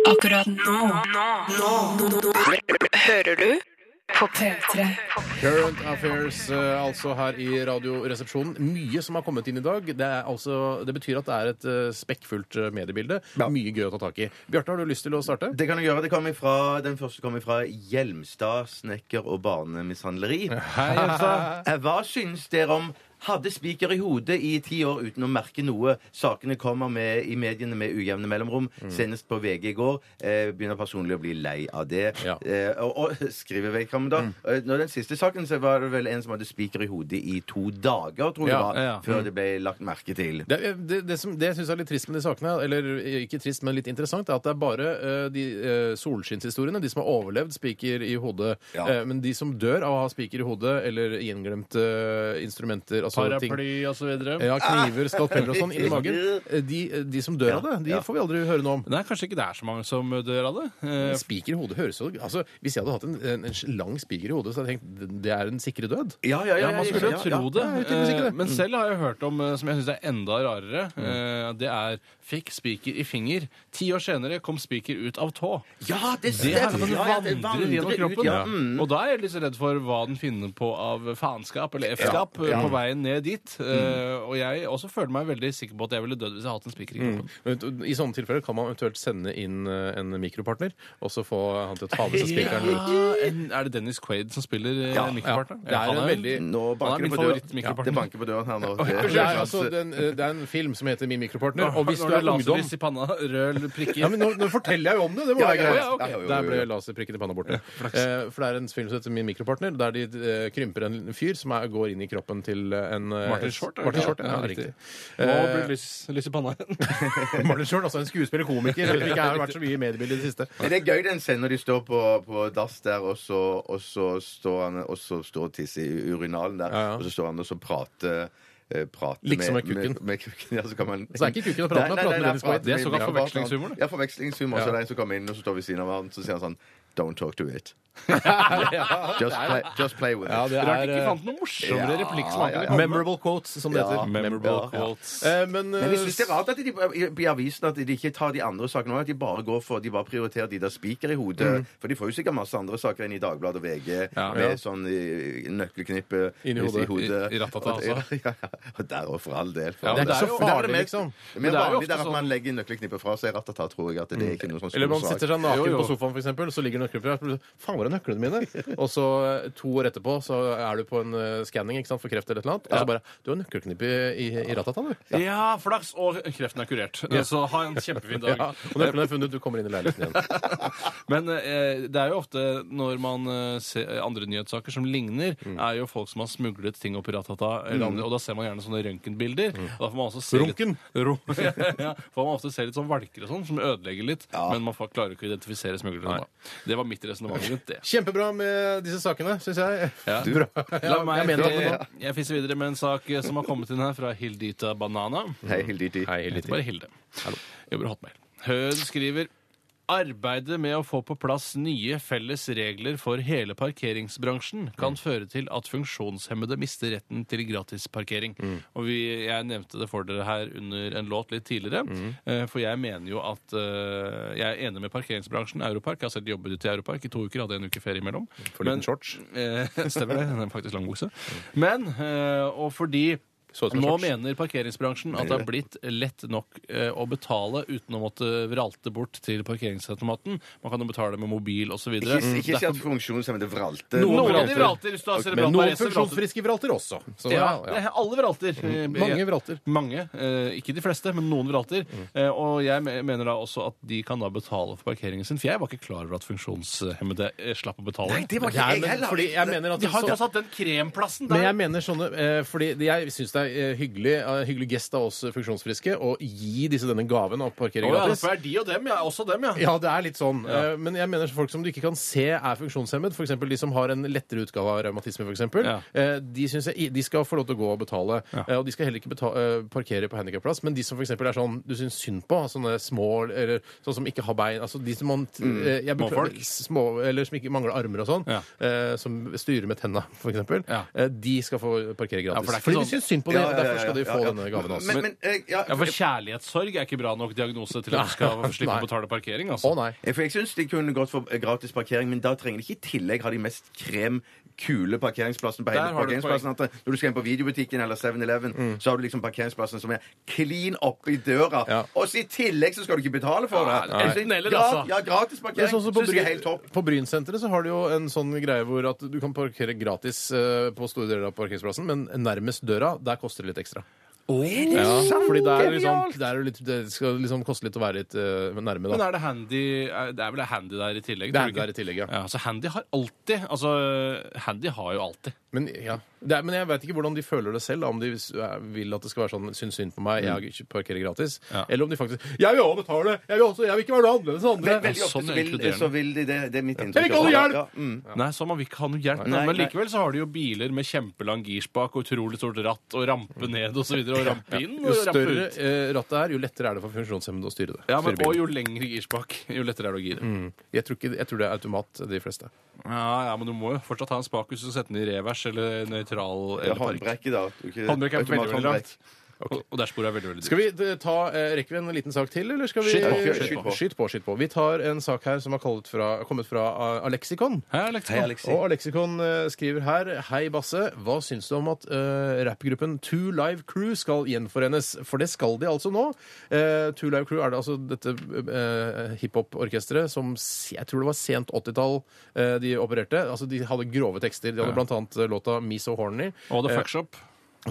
Speaker 5: Akkurat nå. Nå. Nå. Hører du på P3?
Speaker 1: Current Affairs, eh, altså her i Radioresepsjonen. Mye som har kommet inn i dag. Det, er altså, det betyr at det er et eh, spekkfullt eh, mediebilde. Mye gøy å ta tak i. Bjarte, har du lyst til å starte?
Speaker 2: Det kan du gjøre. Det kommer ifra, den første kommer fra Hjelmstad snekker og barnemishandleri.
Speaker 1: Hei, Hjelmstad.
Speaker 2: Eh, Hva syns dere om hadde spiker i hodet i ti år uten å merke noe. Sakene kommer med i mediene med ujevne mellomrom. Senest på VG i går. Eh, begynner personlig å bli lei av det. Eh, og, og [LAUGHS] skriver vedkommende da. Eh, Når den siste saken så var det vel en som hadde spiker i hodet i to dager, tror jeg det
Speaker 1: Ja,
Speaker 2: var,
Speaker 1: ja, ja.
Speaker 2: før det ble lagt merke til.
Speaker 1: Det, eh, det, det som det jeg syns er litt trist med de sakene, eller ikke trist, men litt interessant, er at det er bare eh, de eh, solskinnshistoriene, de som har overlevd spiker i hodet.
Speaker 2: Ja.
Speaker 1: Eh, men de som dør av å ha spiker i hodet, eller gjenglemte instrumenter altså ting-
Speaker 4: Paraply og så videre.
Speaker 1: Ja, kniver, skalpeller og sånn inni
Speaker 2: [LAUGHS]
Speaker 1: magen. Eh, De, de som dør av det, de får vi aldri høre noe om.
Speaker 4: Nei, kanskje ikke det er så mange som dør av det. Eh,
Speaker 1: En Spiker i hodet høres jo altså, Hvis jeg hadde hatt en, en, en lang spiker i hodet, så hadde jeg tenkt det er en sikre død.
Speaker 2: Ja, ja, ja,
Speaker 4: Ja, man
Speaker 2: ja,
Speaker 4: skulle
Speaker 2: ja,
Speaker 4: jo tro
Speaker 2: ja.
Speaker 4: det.
Speaker 1: Ja, tydeligvis ikke det.
Speaker 4: Eh,
Speaker 2: Mm.
Speaker 4: Men selv har jeg hørt om, eh, som jeg syns er enda rarere, eh, det er fikk spiker i finger. Ti år senere kom spiker ut av tå.
Speaker 2: Ja, det
Speaker 4: Det er at
Speaker 2: stemmer!
Speaker 4: den
Speaker 2: Ja, ja, det
Speaker 4: vandrer gjennom
Speaker 2: vandrer ut,
Speaker 4: kroppen.
Speaker 2: ja. Mm.
Speaker 4: Og da er jeg litt så redd for hva den finner på av faenskap eller f-skap eh, på veien ned dit.
Speaker 2: Mm.
Speaker 4: Eh, Og jeg også føler meg veldig sikker på at jeg ville dødd hvis jeg hadde hatt en spiker i
Speaker 2: Mm.
Speaker 4: kroppen.
Speaker 1: Men I sånne tilfeller kan man eventuelt sende inn eh, en mikropartner, og så få han til å ta
Speaker 2: [LAUGHS]
Speaker 1: med seg spikeren. ut.
Speaker 4: Ja, en- er det Dennis Quaid som spiller eh,
Speaker 2: Ja, ja.
Speaker 4: mikropartneren?
Speaker 1: Det er
Speaker 4: Han
Speaker 1: en
Speaker 4: jo-
Speaker 1: veldig
Speaker 2: Nå
Speaker 4: Han er
Speaker 2: banker det
Speaker 4: min
Speaker 2: på døren. Ja,
Speaker 4: favorittmikropartner.
Speaker 2: det banker på døren her nå. Det,
Speaker 1: Det er, altså, den, eh, det er en film som heter Min mikropartner. Og hvis
Speaker 4: Når
Speaker 1: du er
Speaker 4: det
Speaker 1: ungdom
Speaker 4: laserlys i panna, rød prikker
Speaker 1: ja, men nå, nå forteller jeg jo om det! Det må
Speaker 2: Ja,
Speaker 1: være
Speaker 2: ja,
Speaker 1: greit.
Speaker 2: ja, ok. Ja, jo, jo,
Speaker 1: Der ble
Speaker 2: jo.
Speaker 1: laserprikken i panna borte. eh, for det er en film som heter Min mikropartner, der de eh, krymper en fyr som er, går inn i kroppen til eh, en eh,
Speaker 4: Martin Short, er det
Speaker 1: Martin
Speaker 4: ikke?
Speaker 1: Short ja,
Speaker 4: Ja,
Speaker 1: riktig. [LAUGHS]
Speaker 4: riktig. Nå
Speaker 1: Eh,
Speaker 4: blir det lys, lys i panna [LAUGHS] igjen.
Speaker 1: Martin Short, altså en skuespiller, komiker, som ikke har vært så mye i mediebildet i det siste.
Speaker 2: Men det er gøy den scenen når de står på, på dass der, og så, og så står han og så står og tisser i urinalen der,
Speaker 1: Ja, ja.
Speaker 2: og så står han og så prater eh, prater
Speaker 1: Liksom med kukken.
Speaker 2: Med, med kukken ja, så, kan man...
Speaker 1: Så er ikke kukken å prate med,
Speaker 2: Nei, nei,
Speaker 1: prater
Speaker 2: nei,
Speaker 1: med Dennis Quaid.
Speaker 2: prater
Speaker 4: Det er
Speaker 2: med-
Speaker 4: såkalt
Speaker 2: ja,
Speaker 4: forvekslingshumor, da.
Speaker 2: Ja, forvekslingshumor. Så er det en som kommer inn, og så står vi ved siden av han, så sier han sånn Don't talk to
Speaker 1: [LAUGHS]
Speaker 2: it.
Speaker 1: Ja, det
Speaker 2: just,
Speaker 1: er-
Speaker 2: play, just play with it.
Speaker 1: Ja, det er- eh, Rart de ikke fant noen morsommere replikk som han kunne komme med. Memorable quotes, som det heter. Memorable quotes. Eh, men,
Speaker 2: men
Speaker 1: eh,
Speaker 2: jeg synes det er rart at de i- i avisen at de ikke tar de andre sakene òg. At de bare går for, de bare prioriterer de der spiker i hodet.
Speaker 1: Mm.
Speaker 2: For de får jo sikkert masse andre saker enn i Dagbladet og VG
Speaker 1: Ja.
Speaker 2: med sånn eh, nøkkelknippe
Speaker 1: Inni
Speaker 2: hvis-
Speaker 1: hodet. I- i ratata,
Speaker 2: Og- ja,
Speaker 1: altså.
Speaker 2: [LAUGHS] ja, ja. Og der òg, for all del.
Speaker 1: Ja, det er ikke så
Speaker 2: Men der
Speaker 1: farlig,
Speaker 2: mer-
Speaker 1: liksom.
Speaker 2: Det
Speaker 1: Men det
Speaker 2: er
Speaker 1: er
Speaker 2: mer
Speaker 1: jo
Speaker 2: vanlig der
Speaker 1: ofte sånn- Mm.
Speaker 2: at man legger nøkkelknippet fra seg i ratata, tror jeg. At det er ikke noe sånn stor
Speaker 1: Eller man
Speaker 2: sak.
Speaker 1: sitter seg naken på sofaen, for eksempel, så ligger nøkkelen fra deg. Faen, hvor er nøklene mine? [LAUGHS] Og så eh, to år etterpå så er du på en eh, skanning ikke sant, for kreft eller et eller annet. Og så bare Du har nøkkelknipp i, i, i ratata, du.
Speaker 4: Ja. flaks, og kreften er kurert.
Speaker 1: Ja.
Speaker 4: Så ha en kjempefin dag.
Speaker 1: [LAUGHS] Ja, og nøklene er funnet, du kommer inn i leiligheten igjen.
Speaker 4: [LAUGHS] Men eh, det er jo ofte når man eh, ser andre nyhetssaker som ligner, er jo folk som har smuglet ting opp i Ratata. Eller
Speaker 1: Mm.
Speaker 4: andre, og da ser man gjerne sånne røntgenbilder. og Da får man også se
Speaker 1: Runken.
Speaker 4: Litt, [LAUGHS] Ro- ja, får man ofte se litt sånn valker og sånn, som ødelegger litt. Men man får, klarer ikke å identifisere smuglerne. da. Det var mitt resonnement rundt det.
Speaker 1: Kjempebra med disse sakene, syns jeg.
Speaker 4: Ja.
Speaker 1: Bra.
Speaker 4: La meg,
Speaker 1: jeg mener det.
Speaker 4: jeg, fisser videre med en sak eh, som har kommet inn her fra Hildita Banana.
Speaker 2: Hei, Hilditi.
Speaker 1: Hei,
Speaker 4: Jeg heter bare Hilde. Jobber i Hotmail. Hun skriver Arbeidet med å få på plass nye felles regler for hele parkeringsbransjen
Speaker 1: Mm.
Speaker 4: kan føre til at funksjonshemmede mister retten til gratisparkering.
Speaker 1: Mm.
Speaker 4: Og vi, jeg nevnte det for dere her under en låt litt tidligere.
Speaker 1: Mm.
Speaker 4: eh, For jeg mener jo at eh, Jeg er enig med parkeringsbransjen. Europark. Jeg har selv jobbet ute i Europark i to uker. Hadde en uke ferie imellom.
Speaker 1: For liten
Speaker 4: Men-
Speaker 1: shorts.
Speaker 4: Eh, [LAUGHS] Stemmer det. Den er faktisk langbukse. Men, eh, og fordi
Speaker 1: Mm. ut som en
Speaker 4: nå
Speaker 1: shorts.
Speaker 4: mener parkeringsbransjen at det har blitt lett nok eh, å betale uten å måtte vralte bort til parkeringsautomaten. Man kan jo betale med mobil osv.
Speaker 2: Ikke,
Speaker 1: Mm.
Speaker 2: ikke si at
Speaker 1: sånn-
Speaker 2: funksjonshemmede vralter.
Speaker 4: Noen vralter. vralter, hvis du har
Speaker 2: Ok,
Speaker 4: cerebral
Speaker 2: men
Speaker 4: parese,
Speaker 2: noen
Speaker 4: vralter.
Speaker 1: Funksjonsfriske vralter også. Så,
Speaker 4: ja,
Speaker 1: ja, ja.
Speaker 4: det er alle vralter. Eh,
Speaker 1: Mange Mm. vralter.
Speaker 4: Mange. Eh, ikke de fleste, men noen vralter. Eh, og jeg me- mener da også at de kan da betale for parkeringen sin. For jeg var ikke klar over at funksjonshemmede eh, slapp å betale.
Speaker 1: Nei, det var ikke jeg heller. Fordi jeg mener at
Speaker 4: De har
Speaker 1: så-
Speaker 4: jo tross alt den kremplassen der.
Speaker 1: Men jeg mener sånne eh, Fordi det- jeg syns det er eh, hyggelig, eh, hyggelig gest av oss funksjonsfriske å gi disse denne gaven av parkering
Speaker 4: Å, ja,
Speaker 1: gratis.
Speaker 4: for det er de og dem, ja. Også dem, ja.
Speaker 1: Ja, det er litt sånn.
Speaker 4: Ja.
Speaker 1: Eh, Men jeg mener folk som du ikke kan se er funksjonshemmet, f.eks. de som har en lettere utgave av revmatisme, f.eks.,
Speaker 4: Ja.
Speaker 1: eh, de, synes jeg, i- de skal få lov til å gå og betale. Eh, Og de skal heller ikke beta eh, parkere på handikapplass. Men de som f.eks. er sånn du syns synd på, sånne små eller sånn som ikke har bein altså de som man, t-
Speaker 4: Mm.
Speaker 1: eh, jeg beklager-
Speaker 4: Småfolk.
Speaker 1: Små, eller som ikke mangler armer og sånn, eh, som styrer med tenna, f.eks., eh, de skal få parkere
Speaker 4: Ja, for
Speaker 1: gratis. Fordi
Speaker 4: det er ikke sånn-
Speaker 1: de syns synd på
Speaker 4: Ja,
Speaker 1: det,
Speaker 4: ja,
Speaker 1: og
Speaker 4: ja,
Speaker 1: derfor skal de
Speaker 4: ja,
Speaker 1: få
Speaker 4: ja, ja.
Speaker 1: denne gaven også.
Speaker 4: Men- men, eh, ja, for- kjærlighetssorg er ikke bra nok diagnose til at du skal slippe å betale parkering. Altså.
Speaker 2: Ja, Eh, For jeg syns de kunne gått for eh, gratis parkering, men da trenger de ikke i tillegg ha de mest krem kule parkeringsplassen på
Speaker 4: Der
Speaker 2: hele
Speaker 4: har du et Mm.
Speaker 2: parkeringsplassen. At det- når du skal inn på videobutikken eller 7-Eleven, så har du liksom parkeringsplassen som er clean oppe i døra. Og så i tillegg så skal du ikke betale for
Speaker 1: Nei,
Speaker 2: det. Jeg synes-
Speaker 1: enten eller,
Speaker 2: gra-
Speaker 1: altså.
Speaker 2: Ja,
Speaker 1: Det
Speaker 2: gratis
Speaker 1: er
Speaker 2: parkering
Speaker 1: sånn som på,
Speaker 2: synes jeg er helt
Speaker 1: Bryn,
Speaker 2: topp.
Speaker 1: på Brynsenteret så har de jo en sånn greie hvor at du kan parkere gratis eh, på store deler av parkeringsplassen, men nærmest døra, der koster det litt ekstra. Ja, fordi der, er liksom, der er det litt, det skal liksom koste litt å være litt eh, nærme,
Speaker 4: Men
Speaker 1: da.
Speaker 4: er det handy er- Det er vel det handy der i tillegg?
Speaker 1: Det er
Speaker 4: tror du
Speaker 1: handy
Speaker 4: ikke? Ja, så handy har alltid Altså, handy har jo alltid.
Speaker 1: Men, ja. det er, men jeg veit ikke hvordan de føler det selv. da, Om de s- eh, vil at det skal være sånn syns synd på
Speaker 4: Mm.
Speaker 1: meg, jeg ikke parkerer gratis. Eller om de faktisk Jeg vil også betale! Jeg vil, også, jeg vil ikke være noe annerledes enn andre!
Speaker 2: Ve- Veldig
Speaker 4: sånn
Speaker 2: ofte så vil, så vil de det. Det er mitt inntrykk.
Speaker 1: Jeg vil ikke ha noe
Speaker 2: Ja,
Speaker 1: hjelp!
Speaker 2: ja, mm.
Speaker 4: Nei, så man vil ikke ha noe hjelp.
Speaker 2: Nei,
Speaker 4: men
Speaker 2: nei.
Speaker 4: likevel så har de jo biler med kjempelang girspak og utrolig stort ratt og rampe ned og så videre, og rampe inn
Speaker 1: Jo
Speaker 4: og rampe
Speaker 1: større
Speaker 4: ut.
Speaker 1: eh, rattet er, jo lettere er det for funksjonshemmede å styre det.
Speaker 4: Ja, men,
Speaker 1: Styre bilen.
Speaker 4: og jo lengre girspak, jo lettere er det å gire.
Speaker 1: Mm. Jeg, tror ikke, jeg tror det er automat, de fleste.
Speaker 4: Ja, ja, men du må jo fortsatt ha en spak hvis du setter den i revers eller nøytral
Speaker 1: Ja,
Speaker 4: eller park.
Speaker 1: håndbrekket, da. Du ikke-
Speaker 4: Håndbrekk er veldig, veldig
Speaker 1: automathåndbrekk.
Speaker 4: langt. Og- Og der sporet er veldig, veldig dyrt.
Speaker 1: Skal vi eh, ta, eh, Rekker vi en liten sak til, eller skal vi
Speaker 4: Skyt på, skyt på.
Speaker 1: Skyt på, skyt på. Vi tar en sak her som har kommet fra, kommet fra eh, Alexikon.
Speaker 4: Hei, Alexikon. Hei, Alexi.
Speaker 1: Og Alexikon eh, skriver her Hei, Basse. Hva syns du om at eh, rappgruppen Two Live Crew skal gjenforenes? For det skal de altså nå. Eh, Two Live Crew er det altså dette eh, hiphop-orkesteret som se- jeg tror det var sent 80-tall eh, de opererte. Altså, de hadde grove tekster. De hadde
Speaker 4: Ja.
Speaker 1: blant annet eh, låta Me So Horny.
Speaker 4: Og The
Speaker 1: Eh,
Speaker 4: Fuck Shop.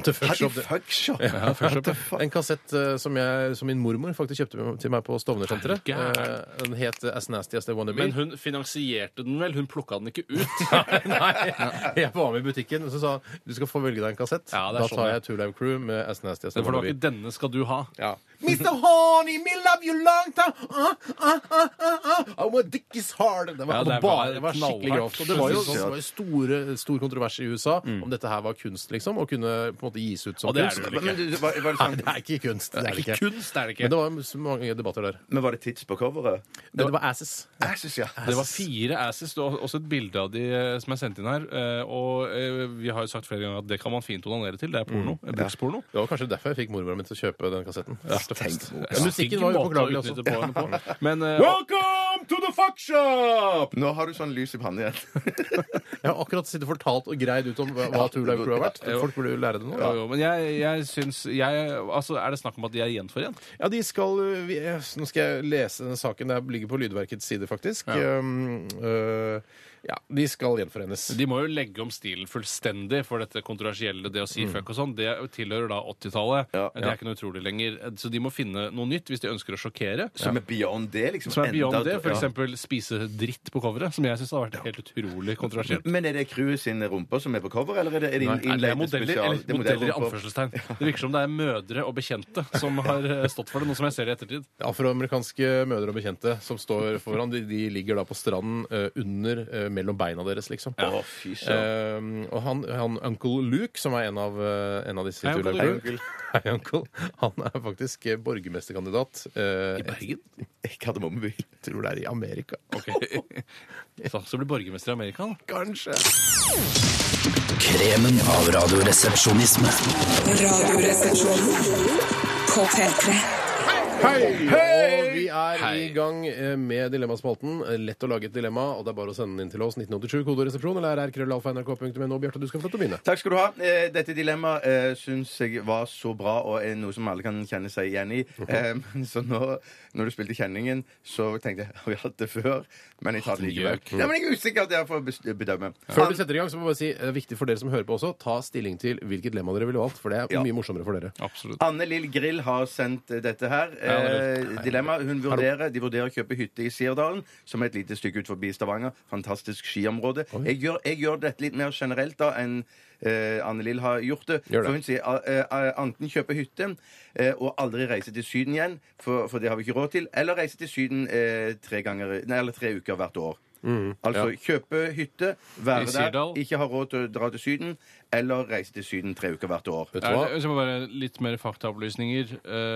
Speaker 1: The Fuck Shop. det-
Speaker 2: Fuckshop.
Speaker 1: Ja, Fuckshop, ja. En kassett eh, som, jeg, som min mormor faktisk kjøpte meg- til meg på Stovner-senteret.
Speaker 4: Er du
Speaker 1: Eh, Den het As Nasty As They Wanna Be. [LAUGHS]
Speaker 4: Men hun finansierte den vel? Hun plukka den ikke [LAUGHS] ut?
Speaker 1: Jeg var med i butikken og så sa hun, du skal få velge deg en kassett.
Speaker 4: Ja, det er
Speaker 1: da
Speaker 4: sånn,
Speaker 1: tar
Speaker 4: ja.
Speaker 1: jeg Two Live Crew med As Nasty As They
Speaker 4: For det
Speaker 1: Wanna
Speaker 4: var
Speaker 1: Be.
Speaker 4: ikke denne skal du ha.
Speaker 1: Ja.
Speaker 3: Mr. Horny, me love you long time. Uh, uh, uh, uh, uh. I
Speaker 1: How my dick is hard! Det var,
Speaker 9: Ja, det var
Speaker 1: bare, det var skikkelig
Speaker 9: knallhardt.
Speaker 1: grovt. Og det var jo,
Speaker 9: Jeg synes
Speaker 1: det
Speaker 9: det
Speaker 1: var jo store, stor kontrovers i USA om dette her var kunst, liksom, og kunne på en måte gis ut som
Speaker 9: Og det er det
Speaker 1: kunst.
Speaker 9: vel ikke. Men
Speaker 2: det var- var det sånn-
Speaker 1: Nei, det er ikke kunst. Det er det ikke.
Speaker 9: kunst, er det ikke.
Speaker 1: Men det var så mange debatter der.
Speaker 2: Men var det tits på coveret?
Speaker 1: Det, det var asses.
Speaker 2: Asses, ja.
Speaker 4: Det var fire asses. Det var også et bilde av de eh, som er sendt inn her. eh, Og eh, vi har jo sagt flere ganger at det kan man fint onanere til. Det er porno.
Speaker 1: Mm.
Speaker 4: Bruksporno.
Speaker 1: Det var kanskje derfor jeg fikk mormora mi til å kjøpe den kassetten. Først og fremst.
Speaker 4: tenk.
Speaker 1: Ja, musikken var jo
Speaker 4: Stygg måte å
Speaker 1: påklagelig
Speaker 4: utnytte porno
Speaker 1: [LAUGHS] også.
Speaker 4: Men, eh,
Speaker 1: Welcome to the fuck shop!
Speaker 2: Nå har du sånn lys i
Speaker 4: [LAUGHS]
Speaker 2: pannen igjen.
Speaker 1: Jeg har akkurat sittet og fortalt og greid ut om hva hva Turlaug Crew har vært. Folk burde jo lære det nå.
Speaker 4: Jo, jo, men jeg, jeg syns jeg, altså, Er det snakk om at de er gjenforent?
Speaker 1: Ja, de skal vi, Nå skal jeg lese den saken. Det ligger på Lydverkets side, faktisk.
Speaker 4: Ja.
Speaker 1: Um, øh, ja, de skal gjenforenes.
Speaker 4: De må jo legge om stilen fullstendig for dette kontroversielle, det å si
Speaker 1: Mm.
Speaker 4: fuck og sånn. Det tilhører da 80-tallet. Det
Speaker 1: Ja.
Speaker 4: er ikke noe utrolig lenger. Så de må finne noe nytt hvis de ønsker å sjokkere.
Speaker 2: Som er beyond det, liksom.
Speaker 4: Som er beyond
Speaker 2: Enda-
Speaker 4: det. For
Speaker 2: ja.
Speaker 4: eksempel spise dritt på coveret, som jeg syns har vært helt utrolig kontroversielt.
Speaker 2: Men er det crewet sine rumper som er på cover, eller er det, er det inn-
Speaker 4: Nei, nei, det er
Speaker 2: innleide
Speaker 4: modeller,
Speaker 2: spesial-
Speaker 4: eller
Speaker 2: det er
Speaker 4: modeller i
Speaker 1: [LAUGHS]
Speaker 2: modellrumper?
Speaker 4: anførselstegn. Det virker som det er mødre og bekjente som har eh, stått for det, nå som jeg ser det i ettertid.
Speaker 1: Afroamerikanske mødre og bekjente som står foran, de, de ligger da på stranden eh, under, eh, mellom beina deres, liksom.
Speaker 2: Å, fy søren.
Speaker 1: Eh, og han, han Uncle Luke, som er en av, eh, en av disse
Speaker 4: Hei, Uncle
Speaker 1: turlaugene-
Speaker 4: Luke.
Speaker 1: [LAUGHS] Hei, Uncle. Han er faktisk eh, borgermesterkandidat. øh, I [LAUGHS]
Speaker 4: [LAUGHS] Bergen?
Speaker 2: Kardemommeby.
Speaker 1: Tror det er i Amerika.
Speaker 4: Så, Sånn, så blir borgermester i Amerika, da.
Speaker 1: Kanskje.
Speaker 3: Kremen av radioresepsjonisme.
Speaker 12: Radioresepsjonen på P3.
Speaker 1: Hei! Og vi er i gang eh, med Dilemmaspalten. Eh, Lett å lage et dilemma, og det er bare å sende den inn til oss. 1987, kodoresepsjon eller rrkrøllalfa.nrk.no. Bjarte, du skal få lov til å begynne.
Speaker 2: Takk skal du ha. Eh, Dette dilemmaet eh, syns jeg var så bra og er noe som alle kan kjenne seg igjen i. Eh, men Så nå, når du spilte kjenningen, så tenkte jeg har vi hatt det før, men jeg tar det likevel.
Speaker 1: Gjøk.
Speaker 2: Nei, men jeg er usikker, det får jeg bes- bedømme.
Speaker 1: Før du setter i gang, så må jeg bare si det er viktig for dere som hører på også, ta stilling til hvilket dilemma dere ville valgt, for det er
Speaker 2: Ja.
Speaker 1: mye morsommere for dere.
Speaker 4: Absolutt.
Speaker 2: Anne Lill Grill har sendt eh, dette her.
Speaker 1: Ja, det
Speaker 2: Eh, dilemma. Hun vurderer, de vurderer å kjøpe hytte i Sirdalen, som er et lite stykke ut forbi Stavanger. Fantastisk skiområde. Jeg gjør, jeg gjør dette litt mer generelt da enn eh, Anne Lill har gjort det.
Speaker 1: Gjør det.
Speaker 2: For hun sier eh, eh, enten kjøpe hytte eh, og aldri reise til Syden igjen, for, for det har vi ikke råd til, eller reise til Syden eh, tre, ganger, nei, eller tre uker hvert år.
Speaker 1: Mm,
Speaker 2: Altså kjøpe hytte,
Speaker 4: I
Speaker 2: være der,
Speaker 4: Sirdal.
Speaker 2: ikke ha råd til å dra til Syden, eller reise til Syden tre uker hvert år.
Speaker 4: Er det, så Eh, må bare Litt mer faktaopplysninger.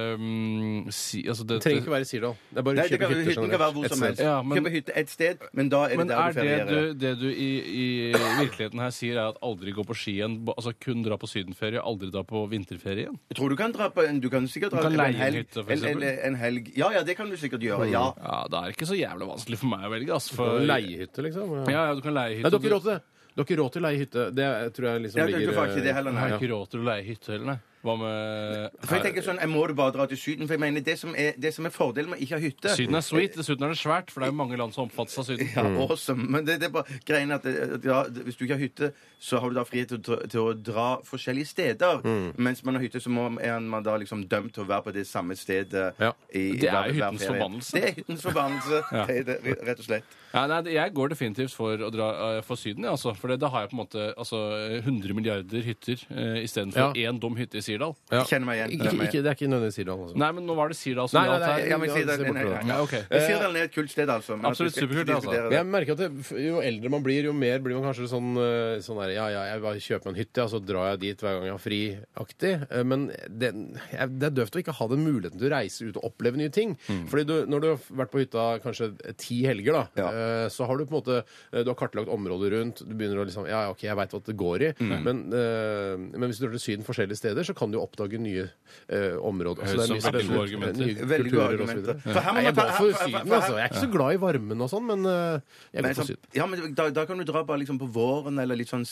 Speaker 4: Um, si, altså
Speaker 1: Det trenger ikke å være i Sirdal. Det er bare å
Speaker 2: Nei, det
Speaker 1: kjøpe
Speaker 2: kan,
Speaker 1: hytter
Speaker 2: hytten kan være hvor
Speaker 1: Et
Speaker 2: som
Speaker 1: sted.
Speaker 2: helst.
Speaker 4: Ja, men-
Speaker 2: Kjøpe hytte et sted, men da er det
Speaker 4: Men
Speaker 2: der
Speaker 4: er
Speaker 2: du
Speaker 4: det
Speaker 2: ferierer.
Speaker 4: du, det du i, i virkeligheten her sier, er at aldri gå på ski igjen? ba- Altså kun dra på sydenferie, aldri dra på vinterferie igjen?
Speaker 2: Jeg tror du kan dra på en Du kan sikkert
Speaker 4: Du
Speaker 2: dra
Speaker 4: kan
Speaker 2: til
Speaker 4: leie
Speaker 2: en
Speaker 4: en
Speaker 2: helg.
Speaker 4: hytte, for
Speaker 2: eller-
Speaker 4: eksempel. Mm.
Speaker 2: eller en helg. Ja, ja, det kan du sikkert gjøre. Ja.
Speaker 4: Det er ikke så jævla vanskelig for meg å velge. Altså,
Speaker 1: Og
Speaker 4: for,
Speaker 1: Leiehytte, liksom.
Speaker 4: Ja, ja, du kan leie hytte.
Speaker 1: Nei, dere har ikke råd til det. Dere har ikke råd til å leie hytte. Det tror jeg liksom
Speaker 2: Ja, du- du får ikke det heller, nei.
Speaker 4: Jeg har ikke råd til å leie hytte heller, nei. Hva med
Speaker 2: For jeg tenker sånn, jeg må du bare dra til Syden. For jeg mener, det som er, det som er fordelen med ikke å ha hytte
Speaker 4: Syden Mm. er sweet. Dessuten er det svært, for det er jo mange land som omfattes av Syden.
Speaker 2: Ja, awesome. Men det, det er bare greien at eh, ja, hvis du ikke har hytte, så har du da frihet til, å dra- til å dra forskjellige steder.
Speaker 4: Mm.
Speaker 2: Mens man har hytte, så må, er man da liksom dømt til å være på det samme stedet. i- i
Speaker 4: Det er
Speaker 2: hver- hver
Speaker 4: jo hyttens
Speaker 2: ferie.
Speaker 4: forbannelse.
Speaker 2: Det er hyttens forbannelse,
Speaker 4: [LAUGHS] Ja.
Speaker 2: det er det, rett og slett.
Speaker 4: Ja, nei, det- jeg går definitivt for å dra eh, for Syden, ja, altså. For det, da har jeg på en måte altså, 100 milliarder hytter eh, istedenfor én dum hytte i Sirdal.
Speaker 1: Ja.
Speaker 2: Kjenner meg igjen.
Speaker 1: Ikke,
Speaker 2: Kjenner meg
Speaker 1: ikke, det er ikke nødvendigvis Sirdal. Altså.
Speaker 4: Nei, men nå var det Sirdal som
Speaker 1: Nei, nei,
Speaker 4: gjaldt
Speaker 1: nei,
Speaker 4: her.
Speaker 2: Ja, men Sirdal-
Speaker 1: se bort
Speaker 2: nei,
Speaker 1: fra
Speaker 2: nei,
Speaker 1: det.
Speaker 2: nei.
Speaker 4: Ja, ok.
Speaker 2: Men Sirdal er et kult sted, altså. men at vi
Speaker 4: Absolutt
Speaker 2: skal ikke
Speaker 4: superkult, altså.
Speaker 2: diskutere
Speaker 1: Men Jeg merker at det, f- Jo eldre man blir, jo mer blir man kanskje sånn, eh, sånn der, Ja, ja, jeg bare kjøper meg en hytte, ja, så drar jeg dit hver gang jeg har fri-aktig. Eh, Men det, jeg- det er døvt å ikke ha den muligheten til å reise ut og oppleve nye ting.
Speaker 2: Mm.
Speaker 1: Fordi du, når du har vært på hytta kanskje ti helger, da, eh, så har du på en måte eh, Du har kartlagt området rundt. Du begynner å liksom Ja, ja, OK, jeg veit hva det går i.
Speaker 2: Mm.
Speaker 1: Men, eh, men hvis du drar til Syden forskjellige steder, så kan du jo oppdage nye eh, områder. Altså, det er
Speaker 4: Høres
Speaker 1: mye
Speaker 4: som veldig gode
Speaker 1: spennende,
Speaker 4: argumenter.
Speaker 1: nye
Speaker 2: Veldig gode
Speaker 1: kulturer og så
Speaker 2: argumenter.
Speaker 1: videre.
Speaker 2: For her må
Speaker 1: Nei, Jeg
Speaker 2: man ta-
Speaker 1: går for
Speaker 2: her- her-
Speaker 1: Syden,
Speaker 2: her-
Speaker 1: altså. Jeg er ikke så glad i varmen og sånn, men eh, jeg
Speaker 2: Men
Speaker 1: går for
Speaker 2: sånn,
Speaker 1: Syden.
Speaker 2: ja, men da, da kan du dra bare liksom på våren eller litt sånn
Speaker 1: jo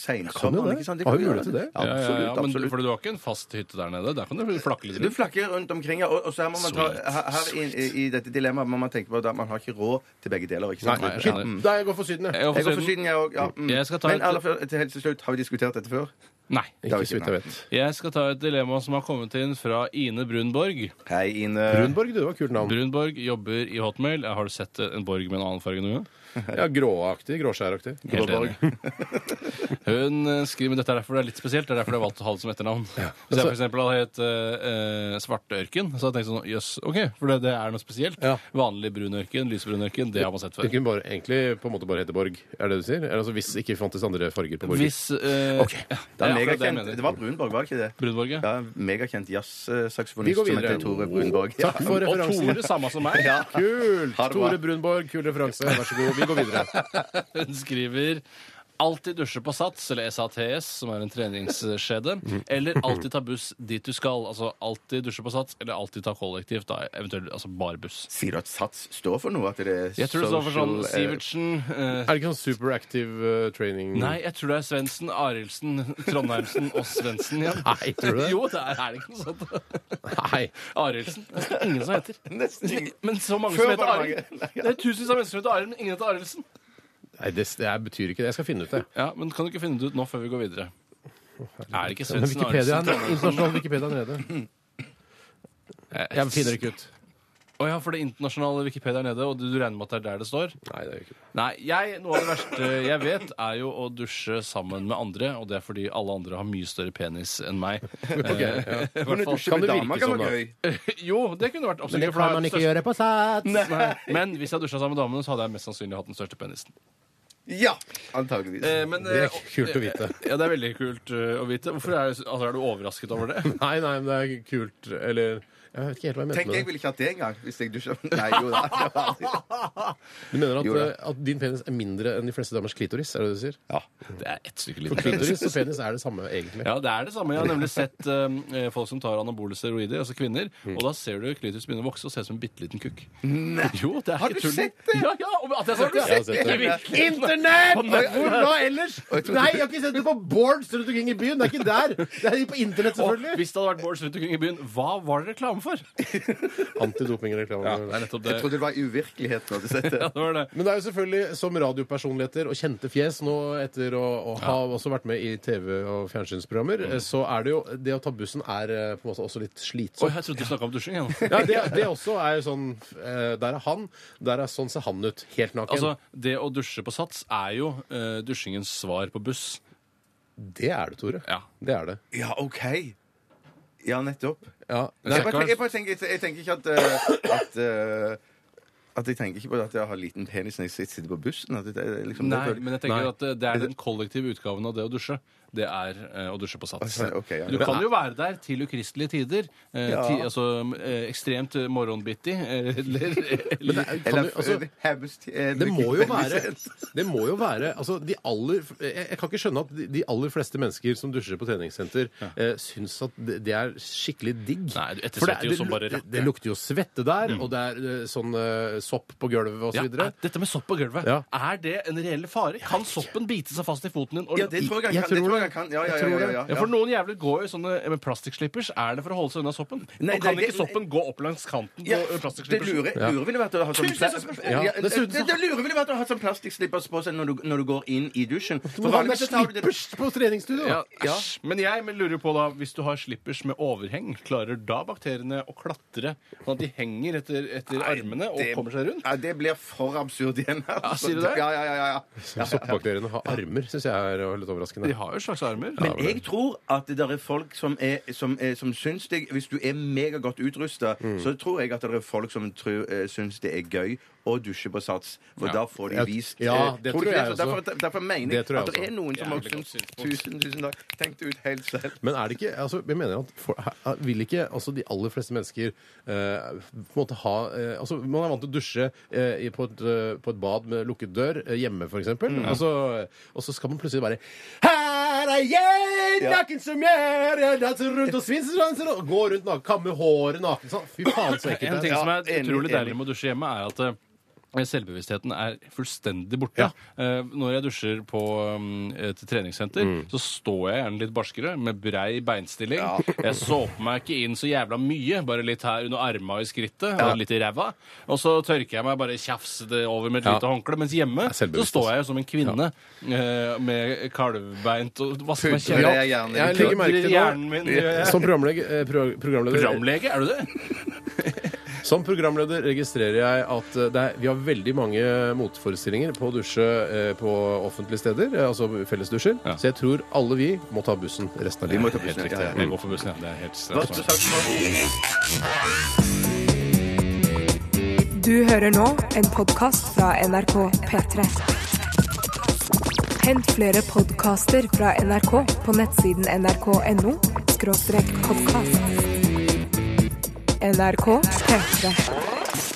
Speaker 1: det.
Speaker 2: sensommeren. ikke sant?
Speaker 1: Har
Speaker 2: kan
Speaker 1: jo
Speaker 2: du
Speaker 1: mulighet til det.
Speaker 2: gjøre.
Speaker 4: Ja, ja, ja,
Speaker 2: Absolutt.
Speaker 4: men du-
Speaker 2: absolutt.
Speaker 4: Fordi du har ikke en fast hytte der nede? Der kan du flakke litt
Speaker 2: Du
Speaker 4: rundt.
Speaker 2: flakker rundt omkring, ja, og, og så her må man ta,
Speaker 4: Sweet.
Speaker 2: her, her i, i, i dette dilemmaet må man tenke på at man har ikke råd til begge deler. ikke sant?
Speaker 4: Nei, jeg skjønner.
Speaker 2: Mm.
Speaker 1: Da jeg går for Syden, jeg.
Speaker 4: Jeg går
Speaker 2: Jeg
Speaker 4: for
Speaker 2: går for
Speaker 4: Syden.
Speaker 2: Syden, jeg òg. Ja, mm.
Speaker 4: Jeg skal ta
Speaker 2: Men
Speaker 4: et-
Speaker 2: aller før, til helt til slutt, har vi diskutert dette før?
Speaker 4: Nei.
Speaker 1: Ikke så vidt jeg vet.
Speaker 4: Jeg skal ta et dilemma som har kommet inn fra Ine Brunborg.
Speaker 2: Hei, Ine.
Speaker 1: Brunborg, det var kult navn.
Speaker 4: Brunborg jobber i Hotmail. Har du sett en borg med en annen farge noen gang?
Speaker 1: Ja, Gråaktig. Gråskjæraktig.
Speaker 4: Helt enig. Hun eh, skriver Dette er derfor det er litt spesielt. Det er derfor jeg har valgt å ha det som etternavn. Hvis
Speaker 2: Altså-
Speaker 4: jeg for eksempel hadde hett eh, eh, Svartørken, så hadde jeg tenkt sånn Jøss, OK, for det, det er noe spesielt. Vanlig brunørken, lysbrunørken, det har man sett
Speaker 1: Det
Speaker 4: før.
Speaker 1: kunne bare, egentlig på en måte bare hete Borg, er det det du sier? Eller, altså, hvis ikke fantes andre farger på Borger.
Speaker 4: Hvis eh,
Speaker 1: Ok.
Speaker 4: ja,
Speaker 2: Det, er
Speaker 4: akkurat jeg
Speaker 2: megakjent.
Speaker 4: mener.
Speaker 2: det var Brunborg, var ikke det?
Speaker 4: Brunborg, ja.
Speaker 2: ja megakjent
Speaker 1: Vi går
Speaker 2: jazzsaksofonist som
Speaker 1: videre.
Speaker 2: heter Tore Brunborg. Ja.
Speaker 1: Takk for referansen.
Speaker 4: Tore, samme som meg.
Speaker 2: Ja.
Speaker 1: [LAUGHS] Kult!
Speaker 2: Ha det bra.
Speaker 1: Tore Brunborg, kul referanse. Vær så god, vi går videre.
Speaker 4: [LAUGHS] Hun skriver Alltid dusje på Sats, eller SATS, som er en treningsskjede. Eller alltid ta buss dit du skal. Altså alltid dusje på Sats, eller alltid ta kollektivt. Da, eventuelt altså bare buss.
Speaker 2: Sier du at Sats står for noe? At det er
Speaker 4: Jeg tror det står for sånn
Speaker 2: social, eh,
Speaker 4: Sivertsen eh,
Speaker 1: Er det ikke sånn superactive eh, training
Speaker 4: Nei, jeg tror det er Svendsen, Arildsen, Trondheimsen og Svendsen
Speaker 1: [LAUGHS]
Speaker 4: igjen.
Speaker 1: Nei, tror du det?
Speaker 4: [LAUGHS] Jo, det er, er det ikke noe sånt.
Speaker 1: Nei.
Speaker 4: Arildsen. Nesten ingen som heter.
Speaker 2: [LAUGHS] Nesten ingen.
Speaker 4: Men så mange
Speaker 2: Før
Speaker 4: som heter
Speaker 2: var det
Speaker 4: Arild.
Speaker 2: mange.
Speaker 4: Det er tusenvis av mennesker som heter Arild, men ingen heter Arildsen.
Speaker 1: Nei, det, det er- betyr ikke det. Jeg skal finne ut det.
Speaker 4: Ja, men kan du ikke finne det ut nå før vi går videre? Er det ikke
Speaker 1: Men
Speaker 4: Svendsen,
Speaker 1: Wikipedia
Speaker 4: Arildsen,
Speaker 1: er internasjonal Wikipedia er nede. Jeg finner det ikke ut.
Speaker 4: Å ja, for det internasjonale Wikipedia er nede, og du, du regner med at det er der det står?
Speaker 1: Nei, det er ikke det.
Speaker 4: Nei, jeg, noe av det verste jeg vet, er jo å dusje sammen med andre, og det er fordi alle andre har mye større penis enn meg.
Speaker 1: ja.
Speaker 4: [LAUGHS] I hvert
Speaker 2: Kan du
Speaker 4: fall-
Speaker 2: dusje med
Speaker 1: det virke
Speaker 2: damer? Kan
Speaker 1: sånn, da?
Speaker 2: være gøy.
Speaker 4: Jo, det kunne vært absolutt for da har jeg den
Speaker 1: gjøre på Sats.
Speaker 4: største- Nei. Men hvis jeg dusja sammen med damene, så hadde jeg mest sannsynlig hatt den største penisen.
Speaker 2: Ja! Antageligvis.
Speaker 4: Eh, men,
Speaker 1: Det
Speaker 4: eh,
Speaker 1: er kult å vite.
Speaker 4: ja, det er veldig kult eh, å vite. Hvorfor er, altså, er du overrasket over det?
Speaker 1: Nei, nei, men det er kult Eller Jeg vet ikke helt hva jeg mente
Speaker 2: Tenk, jeg
Speaker 1: med det.
Speaker 2: ville ikke hatt det engang. Hvis jeg dusjer Nei, jo da.
Speaker 1: Du mener at,
Speaker 2: Jo da.
Speaker 1: eh, at din penis er mindre enn de fleste damers klitoris? Er det det du sier?
Speaker 4: Det er ett stykke
Speaker 1: For klitoris og penis er det samme, egentlig.
Speaker 4: Ja, det er det samme. Jeg har nemlig sett eh, folk som tar anabole steroider, altså kvinner, og da ser du klitoris begynne å vokse og se ut som en bitte liten kukk. Nei. Jo, det er
Speaker 2: Har
Speaker 4: ikke
Speaker 2: du
Speaker 4: tull.
Speaker 2: sett det?
Speaker 4: Ja, ja, og at jeg har sett det.
Speaker 1: Jeg har
Speaker 4: [LAUGHS]
Speaker 1: sett det. [LAUGHS]
Speaker 4: Internett!
Speaker 1: Hvor da ellers? Nei, jeg har ikke sett det på boards rundt omkring i byen. Det er ikke der. Det er på internett,
Speaker 4: Og hvis det hadde vært Bårds rundt omkring i byen, hva var det reklame for?
Speaker 1: Antidopingreklame.
Speaker 4: Det er nettopp det.
Speaker 2: Jeg trodde det var uvirkelighet når du sa det.
Speaker 4: Ja, det var det.
Speaker 1: Men det er jo selvfølgelig som radiopersonligheter og kjente fjes nå etter å, å ha også vært med i TV- og fjernsynsprogrammer, eh, så er det jo Det å ta bussen er eh, på en måte også litt
Speaker 4: Oi,
Speaker 1: slitsomt.
Speaker 4: jeg trodde du snakka om dusjing. igjen.
Speaker 1: Ja, det, det også er jo sånn eh, Der er han. Der er sånn ser han ut. Helt naken.
Speaker 4: Altså, Det å dusje på sats er jo eh, dusjingens svar på buss.
Speaker 1: det er det, Tore.
Speaker 4: Ja.
Speaker 1: Det er det.
Speaker 2: Ja, OK. Ja, nettopp.
Speaker 1: Ja.
Speaker 4: er
Speaker 2: Jeg bare,
Speaker 4: klart.
Speaker 2: tenker, jeg bare tenker, jeg tenker ikke at, eh, at eh, at jeg tenker ikke på at jeg har liten penis når jeg sitter- sitter på bussen. At det, er liksom, det
Speaker 4: Nei,
Speaker 2: føler-
Speaker 4: men jeg tenker at eh, det er den kollektive utgaven av det å dusje. Det er eh, å dusje på sats.
Speaker 2: Altså, ok, ja.
Speaker 4: Du kan jo være der til ukristelige tider. eh, ti, altså eh, ekstremt eh, morgenbittig. eh, [LAUGHS] Eller, eller
Speaker 2: Eller
Speaker 1: Kan du, altså,
Speaker 2: Haugust, eh,
Speaker 1: det må jo
Speaker 2: drikker
Speaker 1: være,
Speaker 2: penis.
Speaker 1: det må jo være altså, de aller, jeg, jeg kan ikke skjønne at de, de aller fleste mennesker som dusjer på treningssenter, eh, syns at det, det er skikkelig digg.
Speaker 4: Nei, du ettersvetter
Speaker 1: For det er-
Speaker 4: jo
Speaker 1: det
Speaker 4: som
Speaker 1: lu-
Speaker 4: bare rakkeren.
Speaker 1: Det, det lukter jo svette der, og det er eh, sånn eh, sopp på gulvet og
Speaker 4: ja,
Speaker 1: så videre.
Speaker 4: er- dette med sopp på gulvet,
Speaker 1: Ja.
Speaker 4: er det en reell fare? Kan soppen bite seg fast i foten din? Og,
Speaker 2: Ja, det tror jeg han
Speaker 1: Jeg tror det.
Speaker 2: kan. Det tror jeg han kan. Ja, ja,
Speaker 1: Jeg
Speaker 2: ja,
Speaker 1: tror
Speaker 2: ja,
Speaker 1: det.
Speaker 2: ja,
Speaker 4: ja, for noen jævler går jo sånne eh, med plastikkslippers. Er det for å holde seg unna soppen?
Speaker 2: Nei,
Speaker 4: og kan
Speaker 2: det-
Speaker 4: ikke soppen gå opp langs kanten
Speaker 2: Ja,
Speaker 4: på eh,
Speaker 2: det
Speaker 4: plastikkslippers?
Speaker 2: lurer, lurer ville vært å ha sånn
Speaker 4: Tusen takk for spørsmålet.
Speaker 2: Ja,
Speaker 1: Ja,
Speaker 2: det, det,
Speaker 1: dessuten så-
Speaker 2: det lurer ville vært å ha sånn plastikkslippers på seg når du, når du går inn i dusjen.
Speaker 1: Du må ha med slippers på treningsstudio!
Speaker 4: Ja,
Speaker 2: Ja.
Speaker 4: æsj. Men jeg men lurer på da, hvis du har slippers med overheng, klarer da bakteriene å klatre sånn at de henger etter, etter armene og kommer seg rundt?
Speaker 2: Ja, det blir for absurd igjen. altså.
Speaker 4: sier du det?
Speaker 2: Ja, ja, ja, ja.
Speaker 1: Soppbakteriene har armer, syns jeg er eh, litt overraskende.
Speaker 4: De har jo slags armer.
Speaker 2: Men jeg tror at det der er folk som, er, som, er, som syns det Hvis du er megagodt utrusta,
Speaker 1: Mm.
Speaker 2: så tror jeg at det er folk som tror, eh, syns det er gøy å dusje på Sats. For da får de
Speaker 1: Jeg-
Speaker 2: vist
Speaker 1: ja,
Speaker 2: eh,
Speaker 1: det
Speaker 2: tror
Speaker 1: tror
Speaker 2: du ikke
Speaker 1: jeg
Speaker 2: Så
Speaker 1: også.
Speaker 2: Derfor, derfor mener
Speaker 1: Det
Speaker 2: jeg
Speaker 1: tror jeg
Speaker 2: at det
Speaker 1: også.
Speaker 2: er noen som
Speaker 4: Jævlig
Speaker 2: også
Speaker 4: godt
Speaker 2: syns Tusen, tusen takk. Tenk det ut helt selv.
Speaker 1: Men er det ikke altså, Jeg mener at for, er- vil ikke altså, de aller fleste mennesker eh, på en måte ha eh, altså, Man er vant til å dusje eh, i, på, et, eh, på et bad med lukket dør eh, hjemme, f.eks.
Speaker 4: Mm.
Speaker 1: Altså, og så skal man plutselig bare Her er jeg, naken som jeg er, jeg danser rundt og svinser og gå rundt naken, kamme håret naken sånn. Fy faen, så ekkelt
Speaker 4: En
Speaker 1: det er.
Speaker 4: ting som er
Speaker 2: Ja, enig,
Speaker 4: utrolig
Speaker 2: enig.
Speaker 4: deilig med å dusje hjemme, er at eh, Selvbevisstheten er fullstendig borte. Eh, Når jeg dusjer på um, et treningssenter, så står jeg gjerne litt barskere, med brei beinstilling. Jeg såper meg ikke inn så jævla mye, bare litt her under arma og i
Speaker 1: Ja.
Speaker 4: skrittet, og litt i ræva. Og så tørker jeg meg bare tjafsete over med et
Speaker 1: Ja.
Speaker 4: lite håndkle, mens hjemme
Speaker 1: Det er selvbevisst,
Speaker 4: så står jeg jo som en kvinne eh, med kalvbeint og vasker meg
Speaker 1: Putter
Speaker 4: kjempe-
Speaker 1: jeg hjernen i Jeg legger merke til nå-
Speaker 4: hjernen min. gjør jeg.
Speaker 1: Som programlege, eh, pro programleder
Speaker 4: Programlege, er du det?
Speaker 1: Som programleder registrerer jeg at eh, det er, vi har veldig mange motforestillinger på å dusje eh, på offentlige steder, eh, altså fellesdusjer. Så jeg tror alle vi må ta bussen resten av
Speaker 4: Vi må ta
Speaker 1: livet.
Speaker 4: bussen, ja, ja. Jeg går for bussen, ja. Det er helt
Speaker 1: Hva-
Speaker 4: straks.
Speaker 5: Du hører nå en podkast fra NRK P3. Hent flere podkaster fra NRK på nettsiden nrk.no podkast. NRK P3.